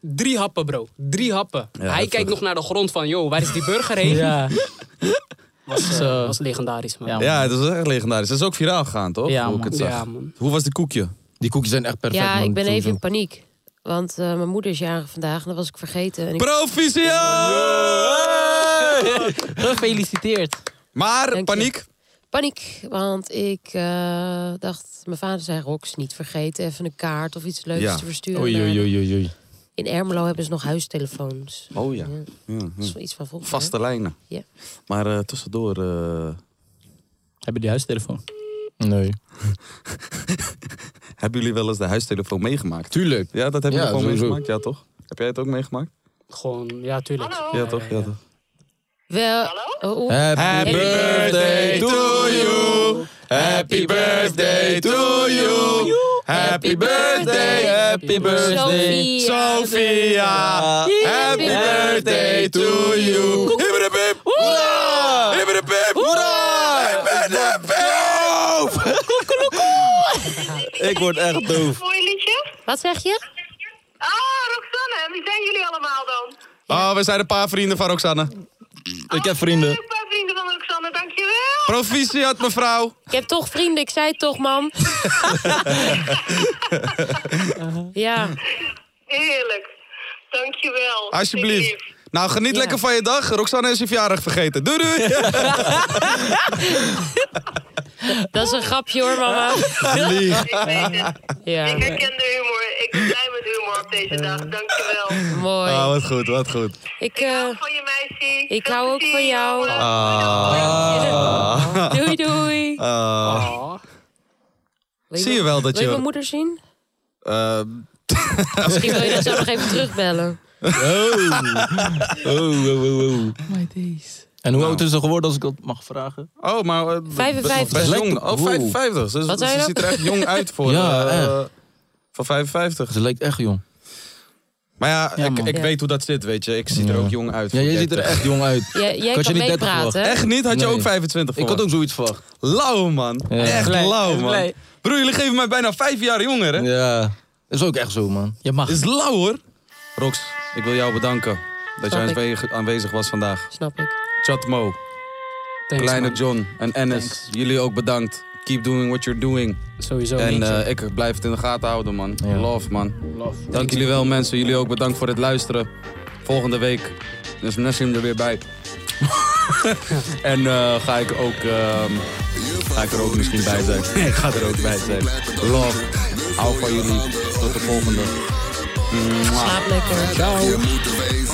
[SPEAKER 6] Drie happen, bro. Drie happen. hij
[SPEAKER 2] heftig.
[SPEAKER 6] kijkt nog naar de grond van, yo, waar is die burger heen?
[SPEAKER 5] Ja.
[SPEAKER 6] Was, eh,
[SPEAKER 5] Zo.
[SPEAKER 6] was legendarisch, man.
[SPEAKER 5] Ja,
[SPEAKER 2] Ja, het is echt legendarisch. Het is ook viraal gegaan, toch?
[SPEAKER 5] Ja,
[SPEAKER 2] Hoe ik
[SPEAKER 5] man.
[SPEAKER 2] het zag.
[SPEAKER 6] Ja, man.
[SPEAKER 2] Hoe was de koekje?
[SPEAKER 7] Die koekjes zijn echt perfect,
[SPEAKER 4] ja,
[SPEAKER 7] man.
[SPEAKER 4] ik ben even in
[SPEAKER 7] Sowieso.
[SPEAKER 4] paniek. Want eh, mijn moeder is jarig vandaag en dat was ik vergeten. En ik,
[SPEAKER 2] Proficiat!
[SPEAKER 5] Gefeliciteerd.
[SPEAKER 2] Maar
[SPEAKER 4] Dank je.
[SPEAKER 2] paniek.
[SPEAKER 4] paniek, want ik eh, dacht, mijn vader zei Rox, niet vergeten even een kaart of iets leuks
[SPEAKER 2] Ja.
[SPEAKER 4] te versturen.
[SPEAKER 7] Oei, oei, oei, oei, oei.
[SPEAKER 4] In Ermelo hebben ze nog huistelefoons.
[SPEAKER 2] Oh ja.
[SPEAKER 4] Dat is wel iets van volgens mij.
[SPEAKER 2] Vaste lijnen.
[SPEAKER 4] Ja.
[SPEAKER 2] Maar eh, tussendoor. eh,
[SPEAKER 5] Hebben die huistelefoon?
[SPEAKER 7] Nee.
[SPEAKER 2] hebben jullie wel eens de huistelefoon meegemaakt?
[SPEAKER 7] Tuurlijk.
[SPEAKER 2] Ja, dat heb je
[SPEAKER 7] Ja,
[SPEAKER 2] gewoon
[SPEAKER 7] sowieso.
[SPEAKER 2] meegemaakt. Ja, toch? Heb jij het ook meegemaakt?
[SPEAKER 6] Gewoon, ja, tuurlijk.
[SPEAKER 2] Ja, toch? Ja, toch?
[SPEAKER 4] Wel, oh, oeh.
[SPEAKER 7] Happy,
[SPEAKER 2] birthday to you.
[SPEAKER 7] Happy birthday to you.
[SPEAKER 4] Happy birthday,
[SPEAKER 7] happy
[SPEAKER 4] Sophia.
[SPEAKER 2] Happy
[SPEAKER 7] birthday to you.
[SPEAKER 2] Hibberepip!
[SPEAKER 7] Hoera!
[SPEAKER 2] Hibberepip!
[SPEAKER 7] Hoera!
[SPEAKER 2] Ik ben de pip!
[SPEAKER 7] Ik word echt doof.
[SPEAKER 8] Mooi liedje.
[SPEAKER 4] Wat zeg je?
[SPEAKER 8] Ah, Roxanne, wie zijn jullie allemaal dan?
[SPEAKER 2] Oh, we zijn een paar vrienden van Roxanne.
[SPEAKER 7] Ik heb vrienden.
[SPEAKER 8] Een paar vrienden van Roxanne, dankjewel.
[SPEAKER 2] Proficiat, mevrouw.
[SPEAKER 4] Ik heb toch vrienden, ik zei het toch, man. ja,
[SPEAKER 8] Heerlijk. Dankjewel.
[SPEAKER 2] Alsjeblieft.
[SPEAKER 8] Ik-
[SPEAKER 2] Nou, geniet
[SPEAKER 4] Ja.
[SPEAKER 2] lekker van je dag. Roxanne is je verjaardag vergeten. Doei doei!
[SPEAKER 4] dat is een grapje hoor, mama.
[SPEAKER 8] Ik weet het. Ik
[SPEAKER 4] Ja,
[SPEAKER 8] herken de humor. Ik ben blij met humor op deze dag.
[SPEAKER 4] Eh.
[SPEAKER 8] Dankjewel.
[SPEAKER 4] mooi.
[SPEAKER 2] Ah, wat goed, wat goed.
[SPEAKER 4] Ik,
[SPEAKER 8] Ik hou
[SPEAKER 4] eh,
[SPEAKER 8] van je meisje.
[SPEAKER 4] ik
[SPEAKER 8] Veel
[SPEAKER 4] hou ook
[SPEAKER 8] plezier,
[SPEAKER 4] van jou.
[SPEAKER 8] jongen.
[SPEAKER 2] Ah,
[SPEAKER 4] doei, doei.
[SPEAKER 6] Oh.
[SPEAKER 4] Wil
[SPEAKER 2] Zie je wel dat
[SPEAKER 4] Wil je
[SPEAKER 2] je-
[SPEAKER 4] mijn moeder zien?
[SPEAKER 2] Eh,
[SPEAKER 4] Misschien wil je dat zo nog even terugbellen.
[SPEAKER 7] Oh, oh, oh, oh.
[SPEAKER 5] My days.
[SPEAKER 7] En hoe oud is ze geworden, als ik dat mag vragen?
[SPEAKER 2] oh, maar... eh,
[SPEAKER 4] 55.
[SPEAKER 2] Best
[SPEAKER 7] Lijkt
[SPEAKER 2] jong.
[SPEAKER 7] op-
[SPEAKER 2] Oh, 55. Ze,
[SPEAKER 4] Wat zei
[SPEAKER 2] ze
[SPEAKER 4] je?
[SPEAKER 2] ziet er echt jong uit voor...
[SPEAKER 7] Ja,
[SPEAKER 2] eh, Voor 55.
[SPEAKER 7] Ze lijkt echt jong.
[SPEAKER 2] Maar ja,
[SPEAKER 5] Ja,
[SPEAKER 2] ik,
[SPEAKER 5] man.
[SPEAKER 2] ik
[SPEAKER 4] Ja.
[SPEAKER 2] weet hoe dat zit, weet je. Ik zie er
[SPEAKER 7] Ja.
[SPEAKER 2] ook jong uit.
[SPEAKER 7] Ja,
[SPEAKER 2] voor
[SPEAKER 7] jij ziet er
[SPEAKER 2] 30.
[SPEAKER 7] echt jong uit.
[SPEAKER 4] Jij, jij
[SPEAKER 7] Kan je
[SPEAKER 4] kan
[SPEAKER 7] niet 30
[SPEAKER 4] meepraten, hè?
[SPEAKER 2] Echt niet? Had je
[SPEAKER 7] Nee.
[SPEAKER 2] ook 25
[SPEAKER 7] Ik had ook zoiets verwacht.
[SPEAKER 2] Lauw, man.
[SPEAKER 7] Ja.
[SPEAKER 2] Echt
[SPEAKER 5] Blij,
[SPEAKER 2] lauw, man.
[SPEAKER 5] blij.
[SPEAKER 2] Broer, jullie geven mij bijna vijf jaar jonger, hè?
[SPEAKER 7] Ja. Dat is ook echt zo, man.
[SPEAKER 5] Je mag.
[SPEAKER 2] Is lauw, hoor. Rox, ik wil jou bedanken dat jij
[SPEAKER 4] ik.
[SPEAKER 2] aanwe- aanwezig was vandaag.
[SPEAKER 4] Snap ik.
[SPEAKER 2] Chatmo,
[SPEAKER 6] Thanks,
[SPEAKER 2] Kleine
[SPEAKER 6] man.
[SPEAKER 2] John en Ennis, jullie ook bedankt. Keep doing what you're doing.
[SPEAKER 6] Sowieso.
[SPEAKER 2] en
[SPEAKER 6] weet je.
[SPEAKER 2] eh, ik blijf het in de gaten houden, man.
[SPEAKER 7] Ja.
[SPEAKER 2] Love, man. Dank jullie wel, mensen. Jullie ook bedankt voor het luisteren. Volgende week is Nassim er weer bij. en eh, ga ik ook... ehm, ga ik er ook misschien bij zijn. ik ga er ook bij zijn. Love. Hou van jullie. Tot de volgende.
[SPEAKER 4] Slaap lekker.
[SPEAKER 3] Je moet er wezen.